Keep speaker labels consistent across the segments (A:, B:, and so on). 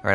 A: All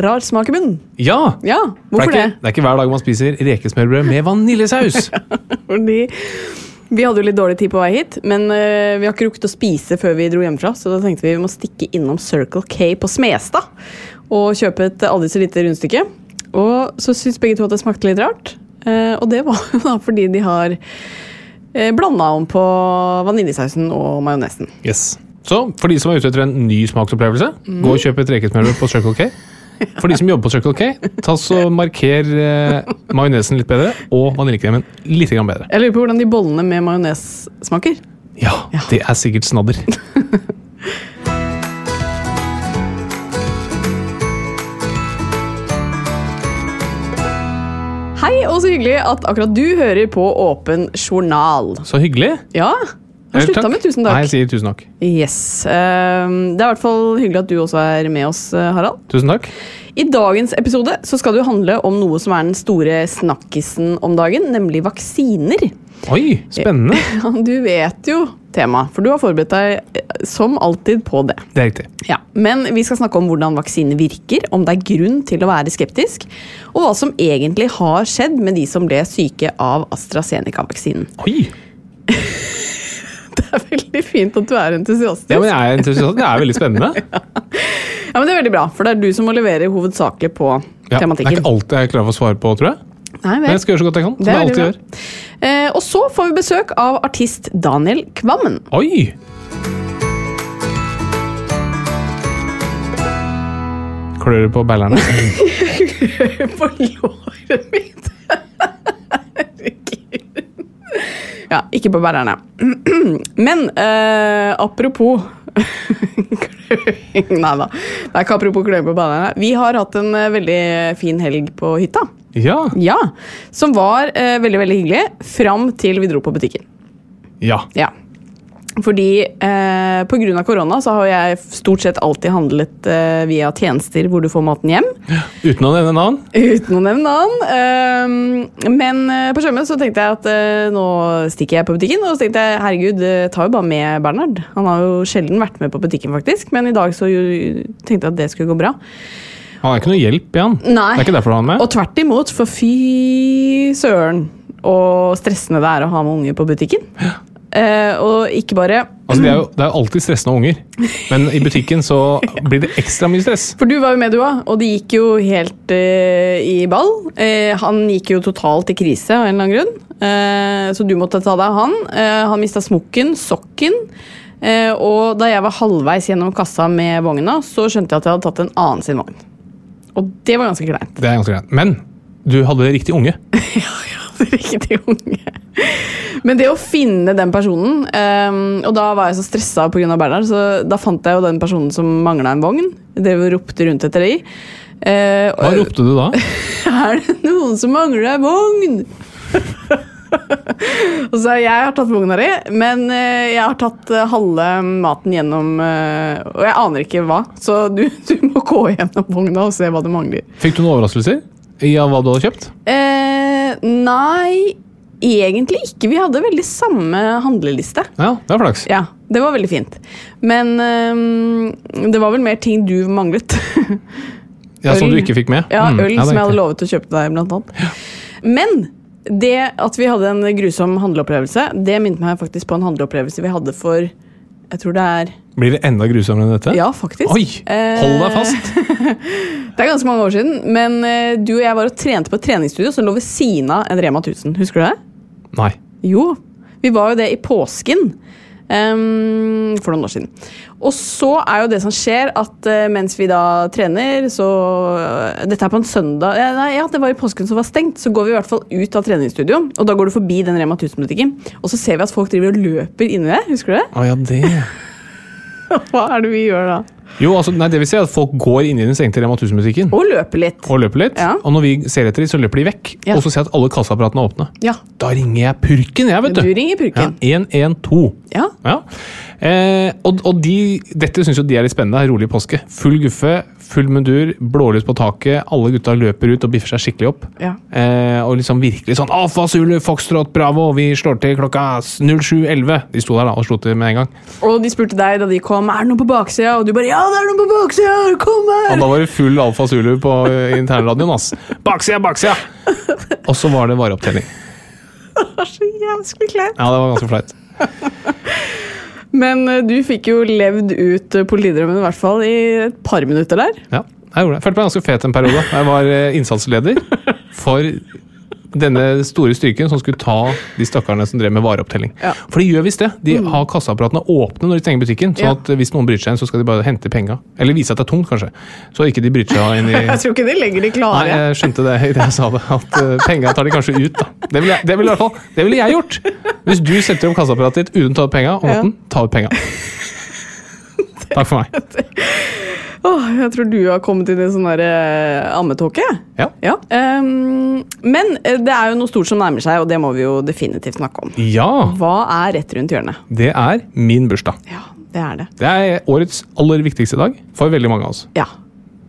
B: rar smak i munnen.
C: Ja!
B: Ja,
C: For
B: hvorfor
C: det,
B: det?
C: er ikke, det er ikke hver dag man spiser rekesmørbrød med vaniljesaus.
B: Fordi vi hadde jo litt dårlig tid på vei hit, men eh, vi har ikke rukket å spise før vi dro hjemmefra, så da tenkte vi vi må stikke innom Circle K på Smestad og kjøpe et aldri så lite rundstykke. Og så syntes begge to at det smakte litt rart, eh, og det var jo da fordi de har blanda om på vaniljesausen og majonesen.
C: Yes. Så for de som er ute etter en ny smaksopplevelse,
B: Mm.
C: gå og kjøp et rekesmørbrød på Circle K. For de som jobber på Circle K, ta så marker eh, majonesen litt bedre og vaniljekremen litt grann bedre.
B: Jeg lurer på hvordan de bollene med majones smaker.
C: Ja, det er sikkert snadder.
B: Hei, og så hyggelig at akkurat du hører på Åpen journal.
C: Så hyggelig.
B: Ja, har
C: Vel,
B: slutta
C: takk.
B: med tusen takk.
C: Nei, jeg sier tusen takk.
B: Yes. ehm, det er i hvert fall hyggelig at du også er med oss, eh, Harald.
C: Tusen takk.
B: I dagens episode så skal det jo handle om noe som er den store snakkisen om dagen, nemlig vaksiner.
C: Oi, spennende.
B: Ja, Du vet jo temaet, for du har forberedt deg eh, som alltid på det.
C: Det er riktig.
B: Ja, Men vi skal snakke om hvordan vaksine virker, om det er grunn til å være skeptisk, og hva som egentlig har skjedd med de som ble syke av AstraZeneca-vaksinen.
C: Oi!
B: Det er veldig fint at du er entusiastisk.
C: Ja, men jeg er entusiastisk. Det er veldig spennende.
B: Ja, men Det er veldig bra, for det er du som må levere hovedsakelig på
C: Ja, det er
B: tematikken.
C: ikke alt jeg klarer å få svar på, tror jeg.
B: Nei, vel.
C: Men jeg skal gjøre så godt jeg kan. Som
B: Det er
C: jeg alltid gjør.
B: veldig bra. Eh, og så får vi besøk av artist Daniel Kvammen.
C: Oi! Klør du på ballerne?
B: På låret mitt! Herregud. Ja, ikke på bærerne. Men eh, apropos kløing Nei da. Det er ikke apropos kløing på bærerne. Vi har hatt en eh, veldig fin helg på hytta.
C: Ja.
B: Ja, Som var eh, veldig veldig hyggelig fram til vi dro på butikken.
C: ja.
B: Ja. Fordi eh, pga. korona så har jeg stort sett alltid handlet eh, via tjenester hvor du får maten hjem.
C: Uten å nevne navn.
B: Uten å nevne navn. Eh, men eh, på Sjømø så tenkte jeg at eh, nå stikker jeg på butikken. Og så tenkte jeg herregud, eh, tar jo bare med Bernhard. Han har jo sjelden vært med på butikken, faktisk. Men i dag så jo, tenkte jeg at det skulle gå bra.
C: Han er ikke noe hjelp igjen.
B: Nei.
C: Det er ikke derfor han er med.
B: Og tvert imot, for fy søren og stressende det er å ha med unge på butikken. Eh, og ikke bare
C: Altså, det, er
B: Mm.
C: jo, det er jo alltid stressende unger, men i butikken så blir det ekstra mye stress.
B: For du var jo med, du òg, og det gikk jo helt eh, i ball. Eh, han gikk jo totalt i krise av en eller annen grunn, Eh, så du måtte ta deg av han. Eh, han mista smokken, sokken. Eh, og da jeg var halvveis gjennom kassa med vogna, så skjønte jeg at jeg hadde tatt en annen sin vogn. Og det var ganske kleint.
C: Det er ganske greit. Men du hadde riktig unge.
B: Riktig unge. Men det å finne den personen eh, Og da var jeg så stressa pga. Bernhard, så da fant jeg jo den personen som mangla en vogn. Drev og ropte rundt etter de. Eh,
C: Hva
B: og-
C: ropte du da?
B: Er det noen som mangler ei vogn? Og så har jeg har tatt vogna di, men eh, jeg har tatt eh, halve maten gjennom eh, Og jeg aner ikke hva, så du, du må gå gjennom vogna og se hva det mangler.
C: Fikk du noen overraskelser i hva du hadde kjøpt?
B: Eh, nei, egentlig ikke. Vi hadde veldig samme handleliste.
C: Ja, det er flaks.
B: Ja, det var veldig fint. Men eh, det var vel mer ting du manglet.
C: Ja, Som
B: Øl.
C: du ikke fikk med?
B: Ja,
C: Mm,
B: øl
C: ja, det er
B: som jeg hadde
C: riktig.
B: lovet å kjøpe deg, blant annet. Men det at vi hadde en grusom handleopplevelse, det minnet meg faktisk på en handleopplevelse vi hadde for Jeg tror det er
C: Blir det enda grusommere enn dette?
B: Ja, faktisk.
C: Oi! Hold
B: Eh,
C: deg fast!
B: Det er ganske mange år siden, men eh, du og jeg var og trente på et treningsstudio som lå ved siden av en Rema 1000. Husker du det?
C: Nei.
B: Jo, vi var jo det i påsken. ehm, for noen år siden. Og så er jo det som skjer, at eh, mens vi da trener, så eh, Dette er på en søndag ja, Nei, ja, det var i påsken som var stengt. Så går vi i hvert fall ut av treningsstudio, og da går du forbi den Rema 1000-butikken. Og så ser vi at folk driver og løper inni det. Husker du det?
C: Å ja, det
B: Hva er det vi gjør da?
C: Jo, altså, nei, det vil si at folk går inn i den stengte Rema 1000-butikken
B: Og løper litt.
C: og løper litt.
B: Ja.
C: Og når vi ser etter dem, så løper de vekk.
B: Ja.
C: Og så ser jeg at alle kassaapparatene er åpne.
B: Ja.
C: Da ringer jeg purken, jeg, vet
B: Du
C: du.
B: ringer purken.
C: Ja, 112.
B: Ja.
C: Ja. Eh, og og de, dette syns jo de er litt spennende. Rolig påske. Full guffe, full mundur, blålys på taket. Alle gutta løper ut og biffer seg skikkelig opp.
B: Ja.
C: Eh, og liksom virkelig sånn Alfa, Zulu, Foxtrot, Bravo, vi slår til klokka 07.11. De sto der da og slo til med en gang.
B: Og de spurte deg da de kom er det noe på baksida, og du bare ja, det er noe på baksida, kom
C: Og
B: her!
C: da var det full Alfa Zulu på eh, internradioen, ass. Baksida, baksida! Og så var det vareopptelling.
B: Det var så jævlig kleint.
C: Ja, det var ganske flaut.
B: Men eh, du fikk jo levd ut eh, politidrømmen i hvert fall i et par minutter der.
C: Ja, jeg gjorde det. Følte meg ganske fet en periode. Jeg var eh, innsatsleder for denne store styrken som skulle ta de stakkarene som drev med vareopptelling.
B: Ja. Mm.
C: For de gjør visst det. De har kassaapparatene åpne når de stenger butikken.
B: Ja.
C: Sånn at hvis noen bryter seg inn, så skal de bare hente penga. Eller vise at det er tungt, kanskje. Så ikke de bryter seg inn i
B: Jeg tror ikke de legger de
C: Nei, eh.
B: klare.
C: jeg skjønte det idet jeg sa det, at uh, penga tar de kanskje ut, da. Det ville jeg, det ville i hvert fall, det ville jeg gjort! Hvis du setter opp kassaapparatet ditt uten å ta ut penga, og
B: Ja.
C: måten, ta ut penga. Takk for meg.
B: Åh, jeg tror du har kommet inn i sånn der eh, ammetåke.
C: Ja.
B: Ja. ehm, men eh, det er jo noe stort som nærmer seg, og det må vi jo definitivt snakke om.
C: ja,
B: Hva er rett rundt hjørnet?
C: det er min bursdag.
B: Ja, det er det.
C: Det er årets aller viktigste dag for veldig mange av oss.
B: Ja.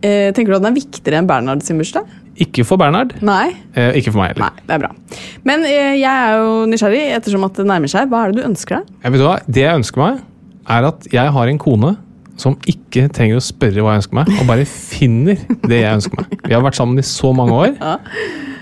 B: Eh, tenker du at den er viktigere enn Bernhard sin bursdag?
C: Ikke for Bernhard,
B: Nei?
C: eh, ikke for meg
B: Nei,
C: heller.
B: det er bra. Men eh, jeg er jo nysgjerrig, ettersom at det nærmer seg. Hva er det du ønsker deg?
C: Jeg vet du hva, Det jeg ønsker meg, er at jeg har en kone som ikke trenger å spørre hva jeg ønsker meg, og bare finner det jeg ønsker meg. Vi har vært sammen i så mange år.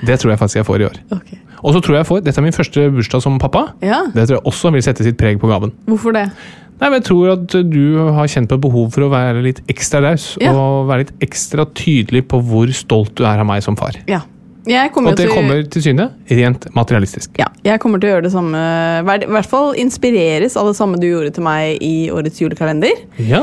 C: Det tror jeg faktisk jeg får i år. Og så tror jeg jeg får, Dette er min første bursdag som pappa.
B: Ja.
C: Det tror jeg også vil sette sitt preg på gaven.
B: Hvorfor det?
C: Nei, men Jeg tror at du har kjent på et behov for å være litt ekstra raus
B: Ja.
C: og være litt ekstra tydelig på hvor stolt du er av meg som far.
B: Ja. Jeg
C: Og
B: kommer
C: at det
B: jo til-
C: kommer til syne rent materialistisk.
B: Ja, jeg kommer til å gjøre det samme. hver- I hvert fall inspireres av det samme du gjorde til meg i årets julekalender.
C: Ja.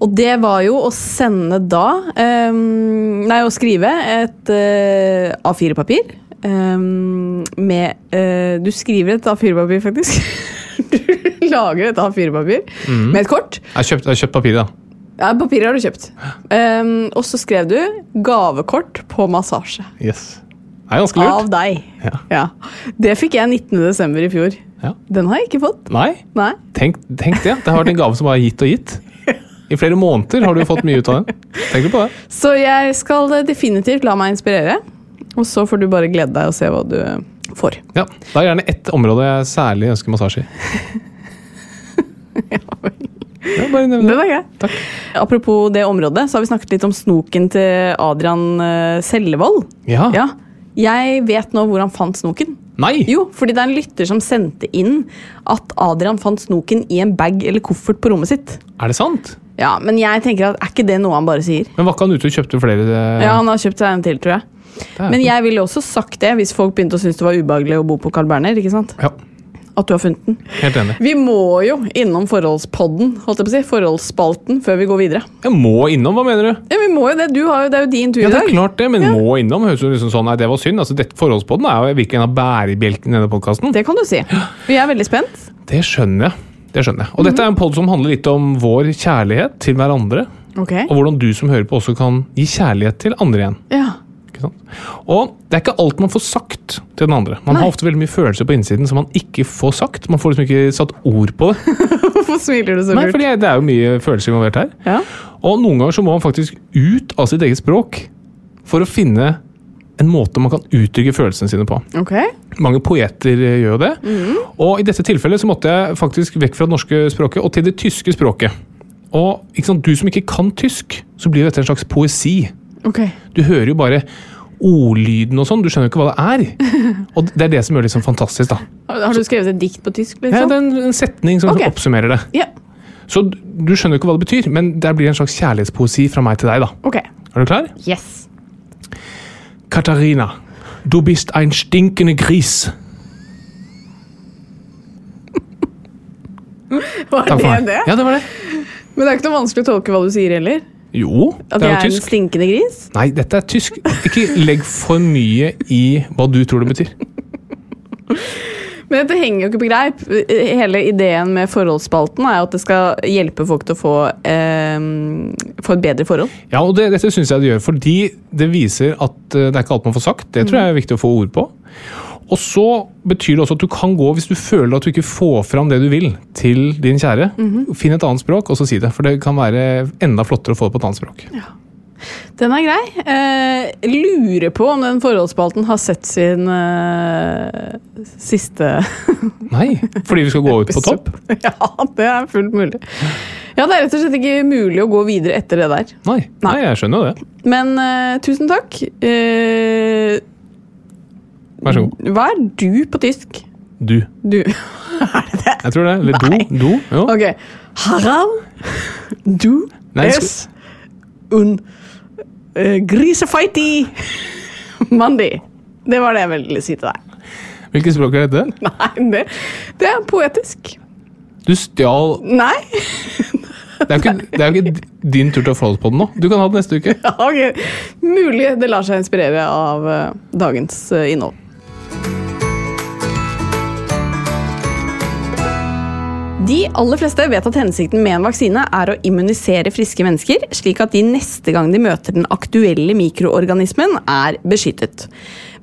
B: Og det var jo å sende da eh, Nei, å skrive et eh, A4-papir. eh, med eh, Du skriver et A4-papir, faktisk. du lager et A4-papir med et kort.
C: Jeg har kjøpt, jeg har kjøpt papiret, da.
B: Ja, papiret har du kjøpt. Eh, og så skrev du 'gavekort på massasje'.
C: Yes. Det er ganske
B: Av
C: lurt.
B: deg.
C: Ja.
B: Ja. Det fikk jeg 19.12. i fjor.
C: Ja.
B: Den har jeg ikke fått.
C: Nei,
B: Nei.
C: tenk, tenk det. Det har vært en gave som bare er gitt og gitt. I flere måneder har du fått mye ut av den. Tenk på det.
B: Så jeg skal definitivt la meg inspirere. Og så får du bare glede deg og se hva du får.
C: Ja, Da er gjerne ett område jeg særlig ønsker massasje i. Ja, bare nevn det.
B: Den er grei.
C: Takk.
B: Apropos det området, så har vi snakket litt om snoken til Adrian eh, Sellevold.
C: Ja.
B: Ja. Jeg vet nå hvor han fant snoken.
C: Nei!
B: Jo, fordi det er en lytter som sendte inn at Adrian fant snoken i en bag eller koffert på rommet sitt.
C: Er det sant?
B: Ja, Men jeg tenker at er ikke det noe han bare sier?
C: Men var ikke han ute og kjøpte flere? eh,
B: Ja, han har kjøpt seg en til, tror jeg.
C: der?
B: Men jeg ville også sagt det hvis folk begynte å synes det var ubehagelig å bo på Carl Berner. ikke sant?
C: Ja,
B: At du har funnet den.
C: helt enig.
B: Vi må jo innom forholdspodden, holdt jeg på å si, forholdsspalten, før vi går videre.
C: Jeg må innom, hva mener du?
B: Ja, vi må jo det. Du har jo, det er jo din tur i
C: Ja, det
B: dag.
C: er klart det, men må innom høres jo liksom sånn Nei, det var synd. altså dette Forholdspodden er jo virkelig en av bærebjelkene i denne podkasten. Det,
B: Det kan du si. Vi er veldig spent.
C: skjønner jeg. Det skjønner jeg. Og dette er en pod som handler litt om vår kjærlighet til hverandre.
B: Ok.
C: Og hvordan du som hører på også kan gi kjærlighet til andre igjen.
B: Ja.
C: Ikke Ikke sant? Og det er ikke alt man får sagt til den andre. Man har ofte veldig mye følelser på innsiden som man ikke får sagt. Man får liksom ikke satt ord på det.
B: Hvorfor smiler du så
C: Nei,
B: lurt?
C: fordi det er jo mye følelser involvert her.
B: Ja.
C: Og noen ganger så må man faktisk ut av sitt eget språk for å finne en måte man kan uttrykke følelsene sine på.
B: Ok.
C: Mange poeter eh, gjør jo det. Og i dette tilfellet så måtte jeg faktisk vekk fra det norske språket og til det tyske språket. Og ikke sant, du som ikke kan tysk, så blir jo dette en slags poesi.
B: Ok.
C: Du hører jo bare ordlyden og sånn, du skjønner jo ikke hva det er. Og det er det som gjør det liksom fantastisk, da.
B: Har, har du skrevet et dikt på tysk,
C: Ja,
B: liksom?
C: det er en, en setning som
B: Ok.
C: oppsummerer det.
B: Ja.
C: Så du du skjønner jo ikke hva det betyr, men det blir en slags kjærlighetspoesi fra meg til deg, da.
B: Ok.
C: Er du klar?
B: Yes.
C: Katharina, du bist ein stinkende gris.
B: Var
C: Takk for
B: det
C: meg.
B: det?
C: Ja, det var det.
B: Men det er ikke noe vanskelig å tolke hva du sier heller.
C: Jo,
B: At
C: det er
B: jeg
C: jo
B: er en
C: tysk.
B: stinkende gris?
C: Nei, dette er tysk. Ikke legg for mye i hva du tror det betyr.
B: Men dette henger jo ikke på greip. Hele ideen med forholdsspalten er jo at det skal hjelpe folk til å få, ehm, få et bedre forhold.
C: Ja, og det, Dette syns jeg det gjør, fordi det viser at eh, det er ikke alt man får sagt. Det tror jeg er viktig å få ord på. Og så betyr det også at du kan gå, hvis du føler at du ikke får fram det du vil til din kjære,
B: Mhm.
C: finn et annet språk og så si det. For det kan være enda flottere å få det på et annet språk.
B: Den er grei. Eh, lurer på om den forholdsspalten har sett sin eh, siste
C: Nei, fordi vi skal gå ut på topp.
B: ja, det er fullt mulig. Ja, det er rett og slett ikke mulig å gå videre etter det der.
C: Nei,
B: Nei.
C: nei jeg skjønner jo det.
B: Men eh, tusen takk. Eh,
C: Vær så god.
B: hva er du på tysk?
C: Du.
B: Du.
C: Jeg tror det. Eller do. do. Jo.
B: Ok. Harald, du
C: Nei, jeg
B: es un eh, grisefighty Mandy. Det var det jeg ville si til deg.
C: Hvilket språk er dette?
B: Nei, det, det er poetisk.
C: Du stjal
B: Nei.
C: Det er jo ikke, det er jo ikke din tur til å forholde på den nå. Du kan ha den neste uke.
B: Ok. Mulig det lar seg inspirere av eh, dagens eh, innhold. De aller fleste vet at hensikten med en vaksine er å immunisere friske mennesker, slik at de neste gang de møter den aktuelle mikroorganismen, er beskyttet.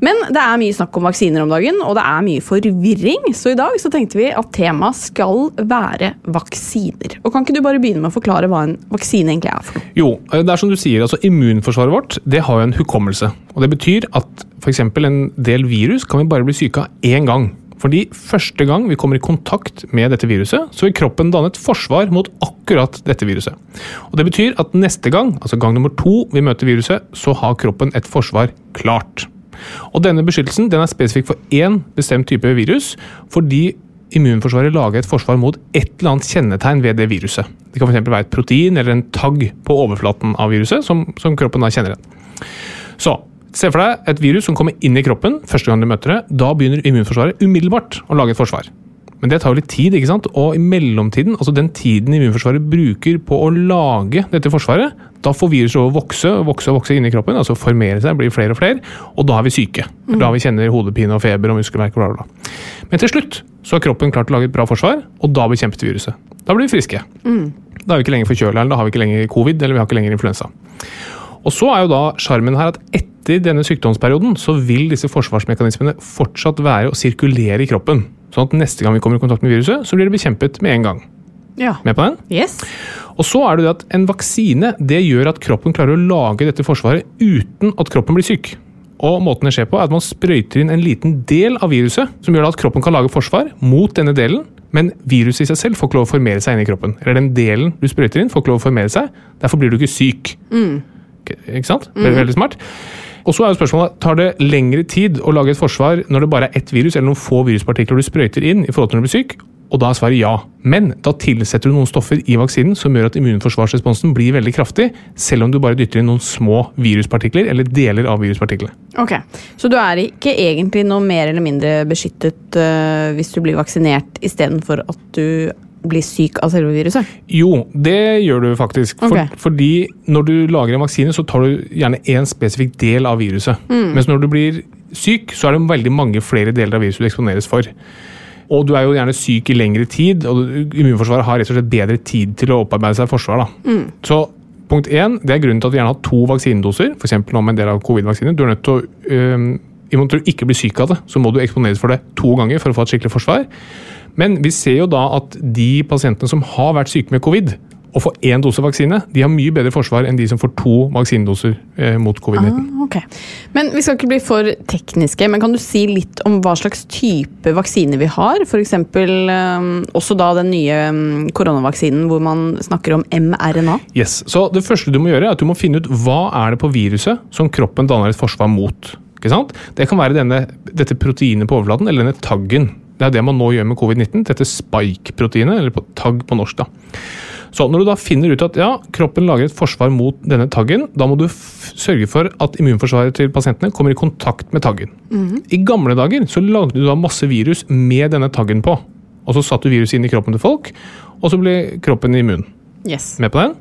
B: Men det er mye snakk om vaksiner om dagen, og det er mye forvirring, så i dag så tenkte vi at temaet skal være vaksiner. Og Kan ikke du bare begynne med å forklare hva en vaksine egentlig er for noe?
C: Jo, det er som du sier, altså immunforsvaret vårt det har jo en hukommelse. Og Det betyr at f.eks. en del virus kan vi bare bli syke av én gang. Fordi første gang vi kommer i kontakt med dette viruset, så vil kroppen danne et forsvar mot akkurat dette viruset. Og Det betyr at neste gang, altså gang nummer to vi møter viruset, så har kroppen et forsvar klart. Og Denne beskyttelsen den er spesifikk for én bestemt type virus, fordi immunforsvaret lager et forsvar mot et eller annet kjennetegn ved det viruset. Det kan for eksempel være et protein eller en tagg på overflaten av viruset, som, som kroppen da kjenner igjen. Så, Se for deg et virus som kommer inn i kroppen første gang du møter det. Da begynner immunforsvaret umiddelbart å lage et forsvar. Men det tar jo litt tid, ikke sant? og i mellomtiden, altså den tiden immunforsvaret bruker på å lage dette forsvaret, da får viruset å vokse og vokse og vokse inni kroppen, altså formere seg, blir flere og flere, og da er vi syke. Da vi kjenner hodepine og feber og muskelverk og bla, bla, bla. Men til slutt så har kroppen klart å lage et bra forsvar, og da bekjempet vi viruset. Da blir vi friske. Da er vi ikke lenger forkjøla, eller da har vi ikke lenger covid, eller vi har ikke lenger influensa. Og så er jo da sjarmen her at etter denne sykdomsperioden så vil disse forsvarsmekanismene fortsatt være å sirkulere i kroppen. Sånn at neste gang vi kommer i kontakt med viruset, så blir det bekjempet med en gang.
B: Ja.
C: Med på den?
B: Yes.
C: Og så er det det at en vaksine det gjør at kroppen klarer å lage dette forsvaret uten at kroppen blir syk. Og måten det skjer på er at Man sprøyter inn en liten del av viruset, som gjør da at kroppen kan lage forsvar mot denne delen, men viruset i seg selv får ikke lov å formere seg inni kroppen. Eller den delen du sprøyter inn, får ikke lov å formere seg. Derfor blir du ikke syk. Ok, Ikke sant? Veldig, veldig smart. Og så er jo spørsmålet, Tar det lengre tid å lage et forsvar når det bare er ett virus eller noen få viruspartikler du sprøyter inn? i forhold til når du blir syk? Og da er svaret ja. Men da tilsetter du noen stoffer i vaksinen som gjør at immunforsvarsresponsen blir veldig kraftig, selv om du bare dytter inn noen små viruspartikler eller deler av viruspartiklene.
B: Ok, Så du er ikke egentlig noe mer eller mindre beskyttet øh, hvis du blir vaksinert istedenfor at du blir syk av selve viruset?
C: Jo, det gjør du faktisk. For,
B: Ok.
C: Fordi når du lager en vaksine, så tar du gjerne én spesifikk del av viruset. Mens når du blir syk, så er det veldig mange flere deler av viruset du eksponeres for. Og du er jo gjerne syk i lengre tid, og du- immunforsvaret har rett og slett bedre tid til å opparbeide seg forsvar. Da. Så Punkt én, det er grunnen til at vi gjerne har to vaksinedoser, f.eks. nå med en del av covid-vaksinen. Du er nødt til å, øhm, i måte du ikke blir syk av det, så må du eksponeres for det to ganger for å få et skikkelig forsvar. Men vi ser jo da at de pasientene som har vært syke med covid, og får én dose vaksine, de har mye bedre forsvar enn de som får to vaksinedoser eh, mot covid-19.
B: Ok. Men Vi skal ikke bli for tekniske, men kan du si litt om hva slags type vaksine vi har? F.eks. også da den nye eh, koronavaksinen hvor man snakker om mRNA.
C: Yes, så Det første du må gjøre, er at du må finne ut hva er det på viruset som kroppen danner et forsvar mot. Ikke sant? Det kan være denne, dette proteinet på overflaten eller denne taggen. Det er det man nå gjør med covid-19. Dette spike-proteinet, eller på- tagg på norsk. da. Så Når du da finner ut at ja, kroppen lager et forsvar mot denne taggen, da må du f sørge for at immunforsvaret til pasientene kommer i kontakt med taggen. I gamle dager så lagde du da masse virus med denne taggen på. og Så satte du viruset inn i kroppen til folk, og så ble kroppen immun.
B: Yes.
C: Med på den?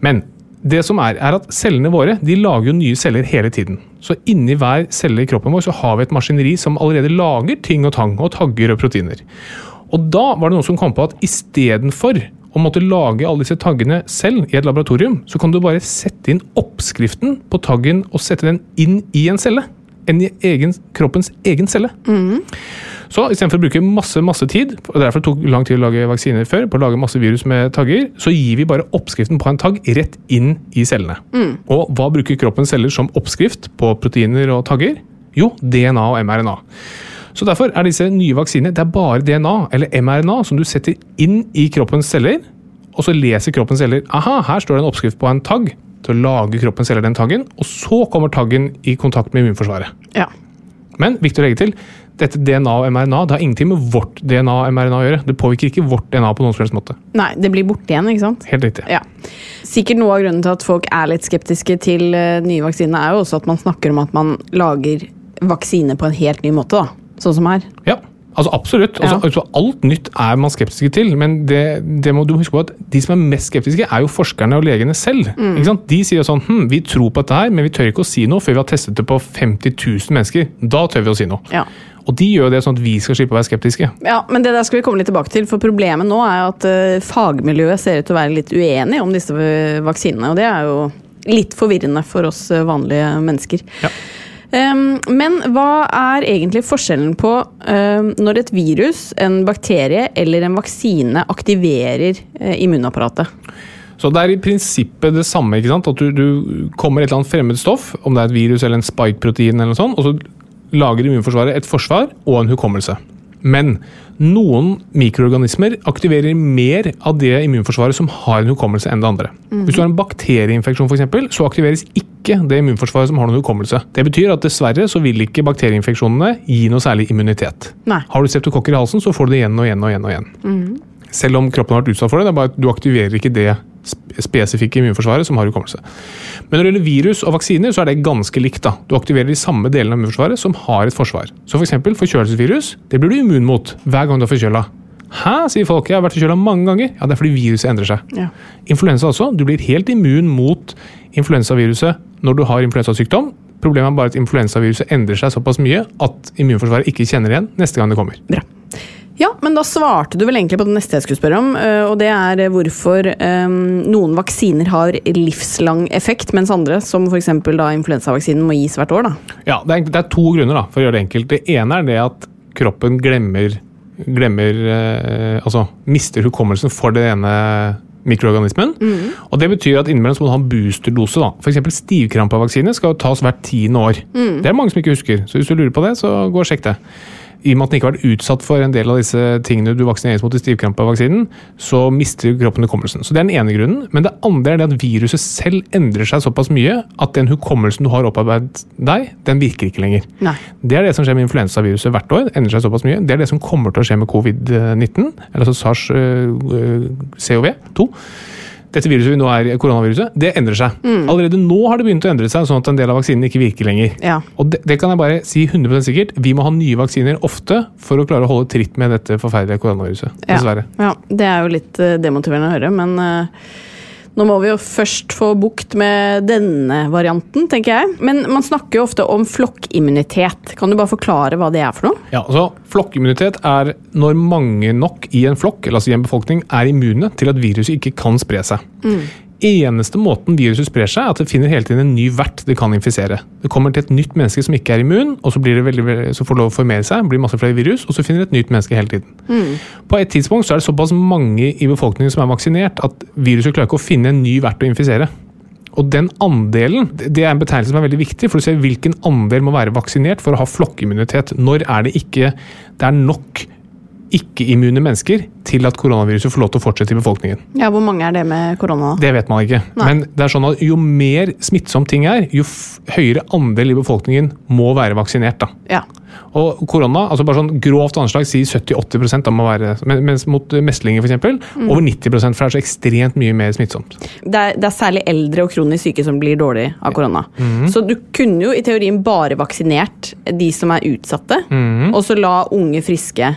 C: Men det som er, er at cellene våre de lager jo nye celler hele tiden. Så inni hver celle i kroppen vår så har vi et maskineri som allerede lager ting og tang og tagger og proteiner. Og da var det noen som kom på at istedenfor å måtte lage alle disse taggene selv i et laboratorium, så kan du bare sette inn oppskriften på taggen og sette den inn i en celle. En i egen, kroppens egen celle. Så istedenfor å bruke masse masse tid, og derfor det tok lang tid å lage vaksiner før, på å lage masse virus med tagger, så gir vi bare oppskriften på en tagg rett inn i cellene. Og hva bruker kroppens celler som oppskrift på proteiner og tagger? Jo, DNA og mRNA. Så derfor er disse nye vaksinene det er bare DNA eller mRNA som du setter inn i kroppens celler, og så leser kroppens celler aha, her står det en oppskrift på en tagg. Så lager kroppens celler den taggen, og så kommer taggen i kontakt med immunforsvaret.
B: Ja.
C: Men viktig å legge til, dette DNA og mRNA det har ingenting med vårt DNA og mRNA å gjøre. Det påvirker ikke vårt DNA på noen som helst måte.
B: Nei, det blir borte igjen, ikke sant?
C: Helt riktig.
B: Ja. Sikkert noe av grunnen til at folk er litt skeptiske til eh, nye vaksiner, er jo også at man snakker om at man lager vaksine på en helt ny måte, da. Sånn som her.
C: Ja, altså absolutt. Altså,
B: Ja.
C: altså, alt nytt er man skeptiske til, men det, det må du huske på at de som er mest skeptiske, er jo forskerne og legene selv.
B: Mm.
C: Ikke sant? De sier jo sånn hm, vi tror på dette her, men vi tør ikke å si noe før vi har testet det på 50 000 mennesker. Da tør vi å si noe.
B: Ja.
C: Og de gjør det sånn at vi skal slippe å være skeptiske.
B: Ja, men det der skal vi komme litt tilbake til, for problemet nå er jo at eh, fagmiljøet ser ut til å være litt uenig om disse eh, vaksinene, og det er jo litt forvirrende for oss eh, vanlige mennesker.
C: Ja.
B: Ehm, men hva er egentlig forskjellen på ehm, når et virus, en bakterie eller en vaksine aktiverer eh, immunapparatet?
C: Så det er i prinsippet det samme. ikke sant? At du, du kommer et eller annet fremmed stoff, om det er et virus eller en spike-protein, eller noe sånt, og så lager immunforsvaret et forsvar og en hukommelse. Men noen mikroorganismer aktiverer mer av det immunforsvaret som har en hukommelse, enn det andre. Hvis du har en bakterieinfeksjon, for eksempel, så aktiveres ikke det immunforsvaret som har noen hukommelse. Det betyr at dessverre så vil ikke bakterieinfeksjonene gi noe særlig immunitet.
B: Nei.
C: Har du septokokker i halsen, så får du det igjen og igjen og igjen. og igjen. Selv om kroppen har vært utsatt for det, det er bare at du aktiverer ikke det sp- spesifikke immunforsvaret som har hukommelse. Men når det gjelder virus og vaksiner, så er det ganske likt. da. Du aktiverer de samme delene av immunforsvaret som har et forsvar. Så f.eks. eksempel forkjølelsesvirus det blir du immun mot hver gang du er forkjøla. Hæ, sier folk. Jeg har vært forkjøla mange ganger. Ja, Det er fordi viruset endrer seg.
B: Ja.
C: Influensa også. Du blir helt immun mot influensaviruset når du har influensasykdom. Problemet er bare at influensaviruset endrer seg såpass mye at immunforsvaret ikke kjenner igjen neste gang det kommer.
B: Bra. Ja, men da svarte du vel egentlig på det neste jeg skulle spørre om, eh, og det er eh, hvorfor eh, noen vaksiner har livslang effekt, mens andre, som f.eks. da influensavaksinen, må gis hvert år, da.
C: Ja, det er, egentlig- det er to grunner da, for å gjøre det enkelt. Det ene er det at kroppen glemmer, glemmer eh, Altså mister hukommelsen for det ene mikroorganismen. Og Det betyr at innimellom så må du ha en boosterdose. da. F.eks. stivkrampevaksine skal jo tas hvert tiende år. Det er mange som ikke husker, så hvis du lurer på det, så gå og sjekk det. I og med at den ikke har vært utsatt for en del av disse tingene du vaksineres mot i stivkrampevaksinen, så mister kroppen hukommelsen. Så Det er den ene grunnen. Men det andre er det at viruset selv endrer seg såpass mye at den hukommelsen du har opparbeidet deg, den virker ikke lenger.
B: Nei.
C: Det er det som skjer med influensaviruset hvert år. det endrer seg såpass mye. Det er det som kommer til å skje med covid-19, eller altså øh, SARS-CoV-2. Dette viruset vi nå er, koronaviruset, det endrer seg. Allerede nå har det begynt å endre seg, sånn at en del av vaksinene ikke virker lenger.
B: Ja.
C: Og det, det kan jeg bare si 100 sikkert. Vi må ha nye vaksiner ofte for å klare å holde tritt med dette forferdelige koronaviruset.
B: Ja.
C: Dessverre.
B: Ja, det er jo litt eh, demotiverende å høre, men eh, nå må vi jo først få bukt med denne varianten, tenker jeg. Men man snakker jo ofte om flokkimmunitet. Kan du bare forklare hva det er for noe?
C: Ja, så Flokkimmunitet er når mange nok i en flokk eller altså i en befolkning, er immune til at viruset ikke kan spre seg. eneste måten viruset sprer seg, er at det finner hele tiden en ny vert det kan infisere. Det kommer til et nytt menneske som ikke er immun, og så, blir det veldig, så får det lov å formere seg, blir masse flere virus, og så finner det et nytt menneske hele tiden. På et tidspunkt så er det såpass mange i befolkningen som er vaksinert, at viruset klarer ikke å finne en ny vert å infisere. Og den andelen det er en betegnelse som er veldig viktig, for du ser hvilken andel må være vaksinert for å ha flokkimmunitet. Når er det ikke det er nok ikke-immune mennesker til at koronaviruset får lov til å fortsette i befolkningen?
B: Ja, Hvor mange er det med korona? da?
C: Det vet man ikke.
B: Nei.
C: Men det er sånn at jo mer smittsom ting er, jo f høyere andel i befolkningen må være vaksinert. da.
B: Ja.
C: Og korona, altså bare sånn grovt anslag, sier 70-80 da må være men- Mens mot eh, meslinger, for eksempel,
B: Mm.
C: over 90 for det er så ekstremt mye mer smittsomt.
B: Det, er, det er særlig eldre og kronisk syke som blir dårlig av korona. Så du kunne jo i teorien bare vaksinert de som er utsatte, og så la unge friske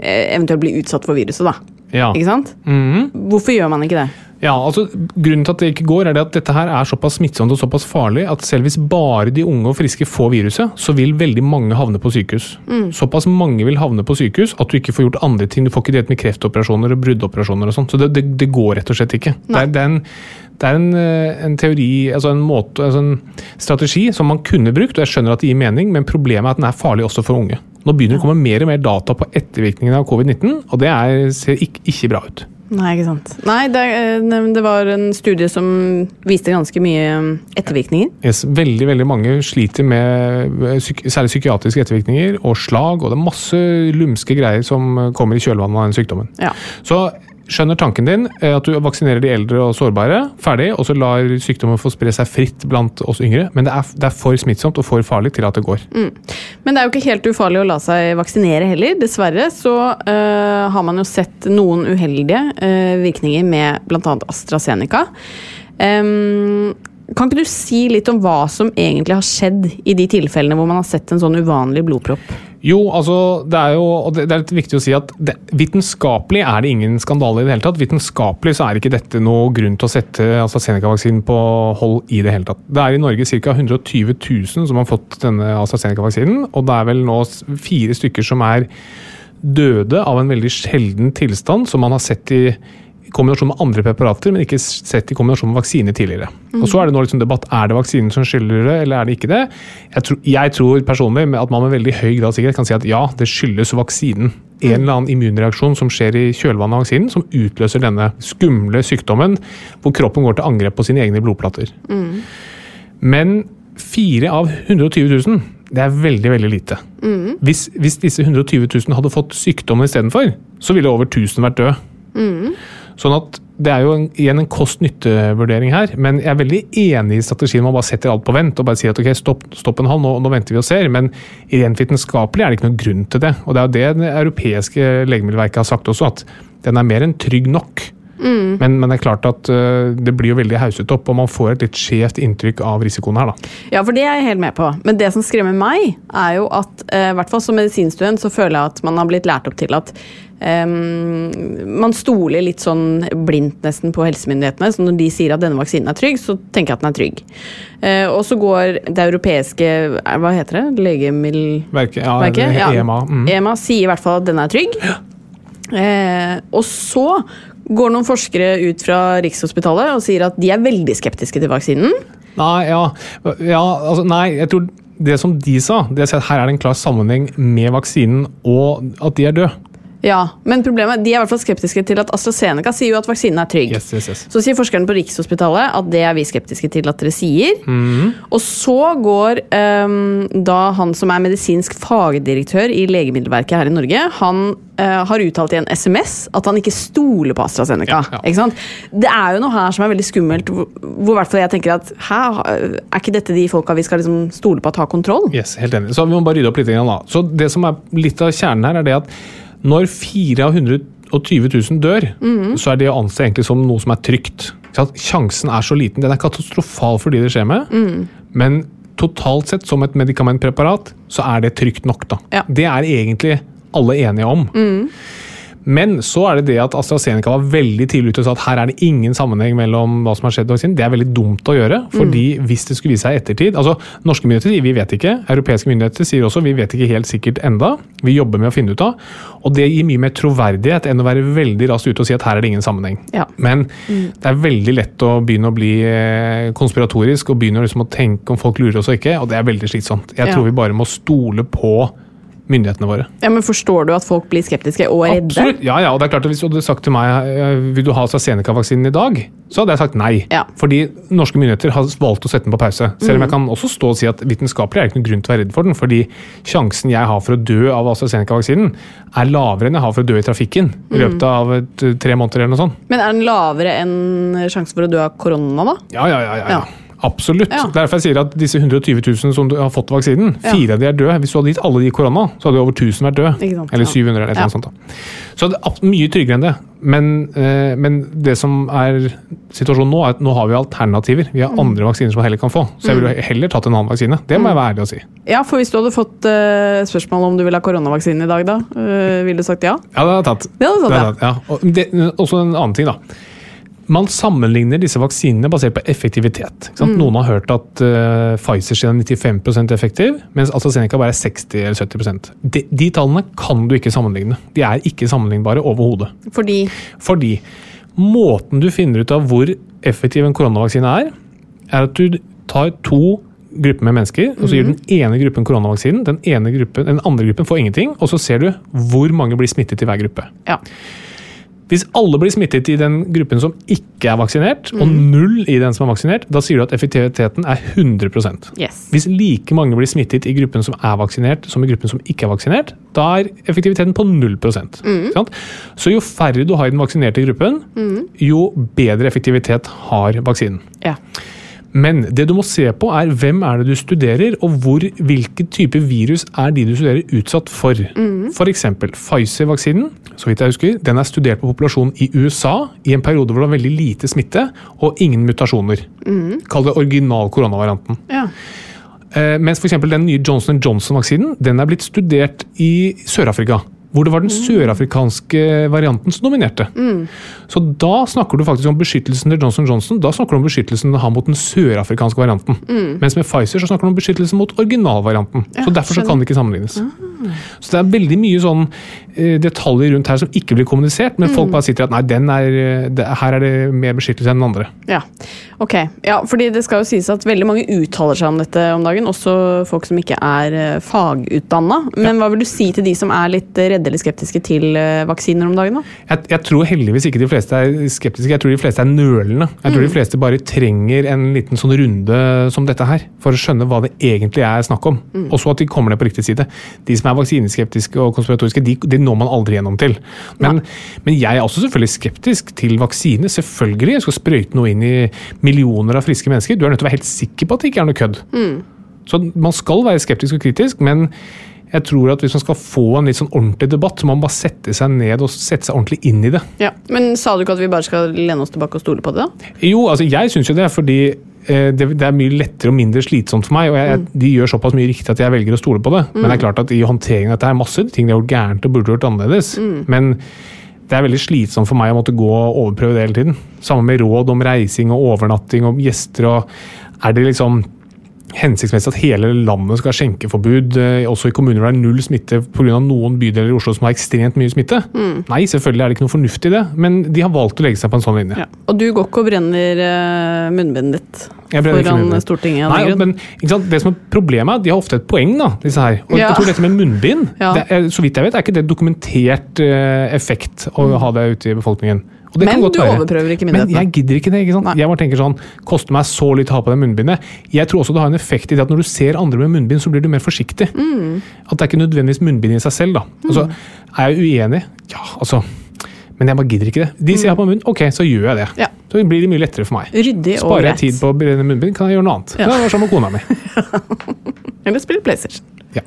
B: eh, eventuelt bli utsatt for viruset, da.
C: Ja.
B: Ikke sant? Hvorfor gjør man ikke det?
C: Ja, altså Grunnen til at det ikke går, er det at dette her er såpass smittsomt og såpass farlig at selv hvis bare de unge og friske får viruset, så vil veldig mange havne på sykehus. Såpass mange vil havne på sykehus at du ikke får gjort andre ting. Du får ikke delt med kreftoperasjoner og bruddoperasjoner og sånn. Så det, det, det går rett og slett ikke. Det er, det er, en, det er en, eh, en teori, altså en, måte, altså en strategi som man kunne brukt, og jeg skjønner at det gir mening, men problemet er at den er farlig også for unge. Nå begynner det å komme mer og mer data på ettervirkningene av covid-19, og det er, ser ikke, ikke bra ut.
B: Nei, ikke sant. Nei, det, eh, nei, det var en studie som viste ganske mye eh, ettervirkninger.
C: Yes, veldig veldig mange sliter med eh, psyk særlig psykiatriske ettervirkninger og slag, og det er masse lumske greier som eh, kommer i kjølvannet av den sykdommen.
B: Ja.
C: Så skjønner tanken din eh, at du vaksinerer de eldre og sårbare, ferdig, og så lar sykdommen få spre seg fritt blant oss yngre, men det er, det er for smittsomt og for farlig til at det går.
B: Men det er jo ikke helt ufarlig å la seg vaksinere heller. Dessverre så øh, har man jo sett noen uheldige øh, virkninger med bl.a. AstraZeneca. Ehm, kan ikke du si litt om hva som egentlig har skjedd i de tilfellene hvor man har sett en sånn uvanlig blodpropp?
C: Jo, altså, det er jo og det, det er litt viktig å si at det, vitenskapelig er det ingen skandale i det hele tatt. Vitenskapelig så er ikke dette noe grunn til å sette AstraZeneca-vaksinen på hold i det hele tatt. Det er i Norge ca. 120 000 som har fått denne AstraZeneca-vaksinen, og det er vel nå s- fire stykker som er døde av en veldig sjelden tilstand som man har sett i i kombinasjon med andre preparater, men ikke s- sett i kombinasjon med vaksine tidligere. Og Så er det nå liksom debatt er det vaksinen som skylder det, eller er det ikke det. Jeg, tro, jeg tror personlig med at man med veldig høy grad av sikkerhet kan si at ja, det skyldes vaksinen. En eller annen immunreaksjon som skjer i kjølvannet av vaksinen, som utløser denne skumle sykdommen hvor kroppen går til angrep på sine egne blodplater. Men fire av 120 000, det er veldig, veldig lite. Hvis, hvis disse 120 000 hadde fått sykdommen istedenfor, så ville over 1000 vært døde.
B: Mm.
C: Sånn at det er jo en, igjen en kost-nytte-vurdering her, men jeg er veldig enig i strategien man bare setter alt på vent og bare sier at ok, stopp, stopp en halv, nå, nå venter vi og ser. Men rent vitenskapelig er det ikke noen grunn til det. Og det er jo det det europeiske legemiddelverket har sagt også, at den er mer enn trygg nok.
B: Mm.
C: Men, men det er klart at øh, det blir jo veldig hauset opp, og man får et litt skjevt inntrykk av risikoen her, da.
B: Ja, for det er jeg helt med på. Men det som skremmer meg, er jo at eh, i hvert fall som medisinstudent så føler jeg at man har blitt lært opp til at ehm, man stoler litt sånn blindt nesten på helsemyndighetene. Så når de sier at denne vaksinen er trygg, så tenker jeg at den er trygg. Eh, og så går det europeiske eh, Hva heter det? Legemiddel...
C: Verket, ja,
B: Verket?
C: eller
B: Ja.
C: EMA. Mm.
B: EMA sier i hvert fall at den er trygg. Eh, og så går noen forskere ut fra Rikshospitalet og sier at de er veldig skeptiske til vaksinen.
C: Nei, ja, ja altså, nei, jeg tror det som de sa, det er at her er det en klar sammenheng med vaksinen og at de er døde.
B: Ja, men problemet, De er i hvert fall skeptiske til at AstraZeneca sier jo at vaksinen er trygg.
C: Yes, yes, yes.
B: Så sier forskerne på Rikshospitalet at det er vi skeptiske til at dere sier.
C: Mhm.
B: Og så går ehm, da han som er medisinsk fagdirektør i Legemiddelverket her i Norge, han eh, har uttalt i en SMS at han ikke stoler på AstraZeneca.
C: Ja, ja.
B: Ikke sant? Det er jo noe her som er veldig skummelt, hvor, hvor i hvert fall jeg tenker at hæ, er ikke dette de folka vi skal liksom stole på at har kontroll?
C: Yes, helt enig. Så vi må bare rydde opp litt. Grann, da. Så det som er litt av kjernen her, er det at når 420 000 dør, så er det å anse egentlig som noe som er trygt. Ikke sant? Sjansen er så liten. Den er katastrofal for de det skjer med, men totalt sett som et medikamentpreparat, så er det trygt nok. da.
B: Ja.
C: Det er egentlig alle enige om. Men så er det det at AstraZeneca var veldig tidlig ute og sa at her er det ingen sammenheng mellom hva som har skjedd og vaksinen. Det er veldig dumt å gjøre, fordi
B: Mm.
C: hvis det skulle vise seg i ettertid altså Norske myndigheter sier vi vet ikke. Europeiske myndigheter sier også vi vet ikke helt sikkert enda. Vi jobber med å finne ut av. Og det gir mye mer troverdighet enn å være veldig raskt ute og si at her er det ingen sammenheng.
B: Ja. Mm.
C: Men det er veldig lett å begynne å bli eh, konspiratorisk og begynne å liksom å tenke om folk lurer oss og ikke, og det er veldig slitsomt. Jeg
B: Ja.
C: tror vi bare må stole på myndighetene våre.
B: Ja, men Forstår du at folk blir skeptiske og redde?
C: Absolutt. Ja, ja, og det er klart at Hvis du hadde sagt til meg eh, vil du ha AstraZeneca-vaksinen i dag, så hadde jeg sagt nei.
B: Ja. Mhm.
C: Fordi norske myndigheter har valgt å sette den på pause. Selv om jeg kan også stå og si at vitenskapelig er det ikke noen grunn til å være redd for den. fordi sjansen jeg har for å dø av AstraZeneca-vaksinen, er lavere enn jeg har for å dø i trafikken
B: Mhm.
C: i løpet av et, eh, tre måneder eller noe sånt.
B: Men er den lavere enn sjansen for å dø av korona, da?
C: Ja, ja, ja. ja.
B: Ja.
C: Absolutt.
B: Ja.
C: Derfor jeg sier at disse 120 000 som du har fått vaksinen,
B: Ja.
C: fire av de er døde. Hvis du hadde gitt alle de korona, så hadde jo over 1000 vært døde.
B: Ikke sant, ja.
C: Eller 700 eller et eller
B: Ja.
C: annet sånt. da. Så det er ab- mye tryggere enn det. Men, eh, men det som er situasjonen nå, er at nå har vi alternativer. Vi har
B: Mm.
C: andre vaksiner som man heller kan få. Så jeg ville heller tatt en annen vaksine. Det må jeg være ærlig og si.
B: Ja, for hvis du hadde fått eh, spørsmål om du ville ha koronavaksinen i dag, da, eh, ville du sagt ja?
C: Ja, det har jeg tatt.
B: Det hadde du tatt, ja.
C: Og det, også en annen ting, da. Man sammenligner disse vaksinene basert på effektivitet. Ikke sant?
B: Mm.
C: Noen har hørt at eh, Pfizer sin er 95 effektiv, mens AstraZeneca bare er 60 eller 70 de, de tallene kan du ikke sammenligne. De er ikke sammenlignbare overhodet.
B: Fordi
C: Fordi måten du finner ut av hvor effektiv en koronavaksine er, er at du tar to grupper med mennesker, og så gir
B: Mm.
C: den ene gruppen koronavaksinen, den, ene gruppen, den andre gruppen får ingenting, og så ser du hvor mange blir smittet i hver gruppe.
B: Ja.
C: Hvis alle blir smittet i den gruppen som ikke er vaksinert, og null i den som er vaksinert, da sier du at effektiviteten er 100
B: Yes.
C: Hvis like mange blir smittet i gruppen som er vaksinert, som i gruppen som ikke er vaksinert, da er effektiviteten på 0 ikke sant? Så jo færre du har i den vaksinerte gruppen, jo bedre effektivitet har vaksinen.
B: Ja.
C: Men det du må se på er hvem er det du studerer, og hvor, hvilke type virus er de du studerer utsatt for. For eksempel Pfizer-vaksinen, så vidt jeg husker, den er studert på populasjonen i USA i en periode hvor det var veldig lite smitte og ingen mutasjoner. Kall det original koronavarianten.
B: Ja.
C: Eh, mens f.eks. den nye Johnson Johnson-vaksinen den er blitt studert i Sør-Afrika. Hvor det var den sørafrikanske varianten som dominerte. Så da snakker du faktisk om beskyttelsen til Johnson Johnson. Da snakker du om beskyttelsen den har mot den sørafrikanske varianten. Mens med Pfizer så snakker du om beskyttelsen mot originalvarianten. så derfor så kan det ikke sammenlignes. Så det er veldig mye sånn eh, detaljer rundt her som ikke blir kommunisert, men folk bare sitter at nei, den er, eh, det, her er det mer beskyttelse enn den andre.
B: ja. Ok. Ja, fordi det skal jo sies at veldig mange uttaler seg om dette om dagen, også folk som ikke er fagutdanna. Men hva vil du si til de som er litt eh, redde eller skeptiske til eh, vaksiner om dagen, da?
C: Jeg, jeg tror heldigvis ikke de fleste er skeptiske, jeg tror de fleste er nølende. Jeg tror de fleste bare trenger en liten sånn runde som dette her, for å skjønne hva det egentlig er snakk om. Og så at de kommer ned på riktig side. De som er vaksineskeptiske og konspiratoriske, de, de når man aldri gjennom til. Men, men jeg er også selvfølgelig skeptisk til vaksine. Selvfølgelig. Jeg skal sprøyte noe inn i millioner av friske mennesker. Du er nødt til å være helt sikker på at det ikke er noe kødd. Så man skal være skeptisk og kritisk, men jeg tror at hvis man skal få en litt sånn ordentlig debatt, så må man bare sette seg ned og sette seg ordentlig inn i det.
B: Ja. Men sa du ikke at vi bare skal lene oss tilbake og stole på det, da?
C: Jo, altså jeg syns jo det, fordi eh, det, det er mye lettere og mindre slitsomt for meg. Og jeg, jeg- de gjør såpass mye riktig at jeg velger å stole på det. Men det er klart at i håndteringen av dette er masse ting de har gjort gærent og burde gjort annerledes. Men det er veldig slitsomt for meg å måtte gå og overprøve det hele tiden. Samme med råd om reising og overnatting og gjester og Er det liksom hensiktsmessig at hele landet skal ha skjenkeforbud, eh, også i kommuner hvor det er null smitte pga. noen bydeler i Oslo som har ekstremt mye smitte? Nei, selvfølgelig er det ikke noe fornuft i det, men de har valgt å legge seg på en sånn linje.
B: Og du går ikke og brenner eh, munnbindet ditt
C: Jeg ble ikke
B: foran
C: munnbind.
B: Stortinget? av den
C: Nei,
B: grunn?
C: men ikke sant? Det som er problemet er at de har ofte et poeng, da, disse her. Og
B: Ja.
C: jeg tror dette med munnbind,
B: Ja.
C: det er, så vidt jeg vet, er ikke det dokumentert eh, effekt å ha det ute i befolkningen. Og det
B: Mm. Men
C: kan godt
B: du
C: være.
B: overprøver ikke
C: Men
B: myndighetene.
C: jeg gidder ikke det. ikke sant?
B: Nei.
C: Jeg bare tenker sånn, Koster meg så litt å ha på det munnbindet. Jeg tror også det har en effekt i det at når du ser andre med munnbind, så blir du mer forsiktig.
B: Mm.
C: At det er ikke nødvendigvis munnbind i seg selv. da. Altså, Er jeg uenig? Ja, altså. Men jeg bare gidder ikke det. De sier jeg har på munnen, ok, så gjør jeg det.
B: Ja.
C: Så blir det mye lettere for meg.
B: Ryddig og
C: Sparer jeg
B: greit.
C: tid på å brenne munnbind, kan jeg gjøre noe annet.
B: Ja.
C: Ja. Det var sammen med kona mi.
B: Eller spille PlayStation.
C: Ja.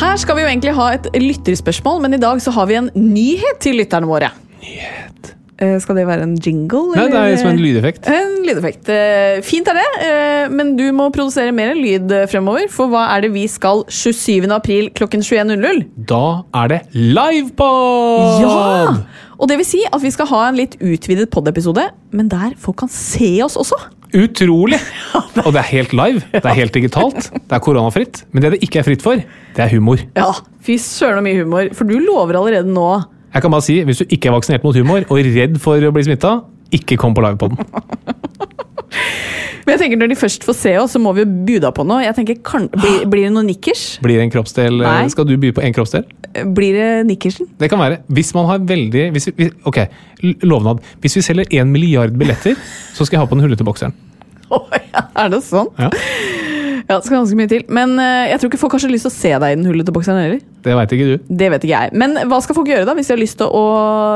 B: Her skal vi jo egentlig ha et lytterspørsmål, men i dag så har vi en nyhet til lytterne våre. Nyhet? Eh, Skal det være en jingle?
C: Nei, det
B: eller?
C: er som en lydeffekt.
B: En lydeffekt. Eh, Fint er det, eh, men du må produsere mer lyd eh, fremover. For hva er det vi skal 27. april klokken 21.00?
C: Da er det livepod!
B: Ja! Og det vil si at vi skal ha en litt utvidet pod-episode, men der folk kan se oss også.
C: Utrolig! Og det er helt live. Det er helt digitalt. Det er koronafritt. Men det det ikke er fritt for, det er humor.
B: Ja, Fy søren så mye humor, for du lover allerede nå
C: Jeg kan bare si, Hvis du ikke er vaksinert mot humor og er redd for å bli smitta, ikke kom på livepoden.
B: Men jeg tenker Når de først får se oss, så må vi jo buda på noe. Jeg tenker, kan, blir, blir det noe nikkers?
C: Blir det en kroppsdel? eh,
B: Nei.
C: Skal du by på en kroppsdel?
B: Blir det nikkersen?
C: Det kan være. Hvis man har veldig hvis vi, hvis- Ok, l- lovnad. Hvis vi selger én milliard billetter, så skal jeg ha på den hullete bokseren.
B: Å, ja, er det sånn?
C: Ja.
B: Ja, det skal ganske mye til. Men eh, jeg tror ikke folk har så lyst til å se deg i den hullete bokseren heller.
C: Det veit ikke du.
B: Det vet ikke jeg. Men hva skal folk gjøre da, hvis de har lyst til å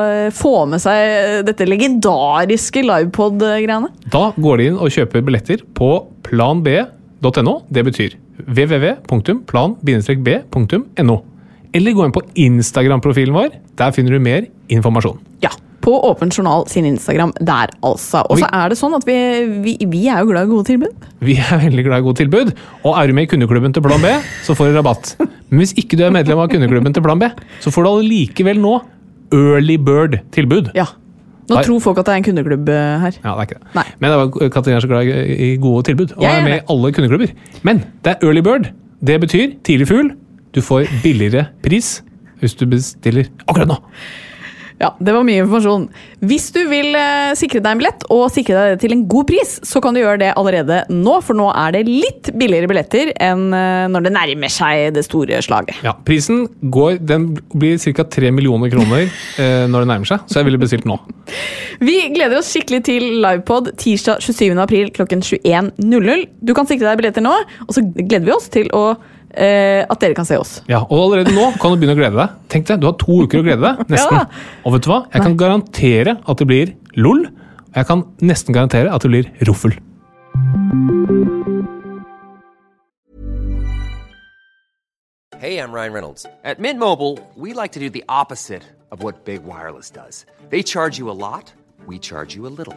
B: eh, få med seg eh, dette legendariske livepod-greiene?
C: Da går de inn og kjøper billetter på planb.no. Det betyr www.plan-b.no. Eller gå inn på Instagram-profilen vår. Der finner du mer informasjon.
B: Ja. På Åpen journal sin Instagram der, altså. Og så er det sånn at vi, vi, vi er jo glad i gode tilbud.
C: Vi er veldig glad i gode tilbud, og er du med i kundeklubben til Plan B, så får du rabatt. Men hvis ikke du er medlem av kundeklubben til Plan B, så får du allikevel nå early bird-tilbud.
B: Ja. Nå
C: Nei.
B: tror folk at det er en kundeklubb eh, her.
C: Ja, det er ikke det.
B: Nei.
C: Men det var, Katrine er så glad i i gode tilbud, og
B: Jeg er
C: er med
B: det.
C: i alle kundeklubber. Men det er early bird. Det betyr tidlig fugl. Du får billigere pris hvis du bestiller akkurat nå.
B: Ja, det var mye informasjon. Hvis du vil eh, sikre deg en billett, og sikre deg det til en god pris, så kan du gjøre det allerede nå, for nå er det litt billigere billetter enn eh, når det nærmer seg det store slaget.
C: Ja, Prisen går, den blir ca. 3 millioner kroner eh, når det nærmer seg, så jeg ville bestilt nå.
B: Vi gleder oss skikkelig til livepod tirsdag 27. april klokken 21.00. Du kan sikre deg billetter nå, og så gleder vi oss til å, eh, at dere kan se oss.
C: Ja, Og allerede nå kan du begynne å glede deg. Tenk deg, Du har to uker å glede deg. Nesten.
B: Ja.
C: Og vet du hva? Jeg kan garantere at det blir LOL. Og jeg kan nesten garantere at det blir roffel.
A: Hey, I'm Ryan Reynolds. At Mint Mobile, we like to do the opposite of what Big Wireless does. They charge you a lot, we charge you a little.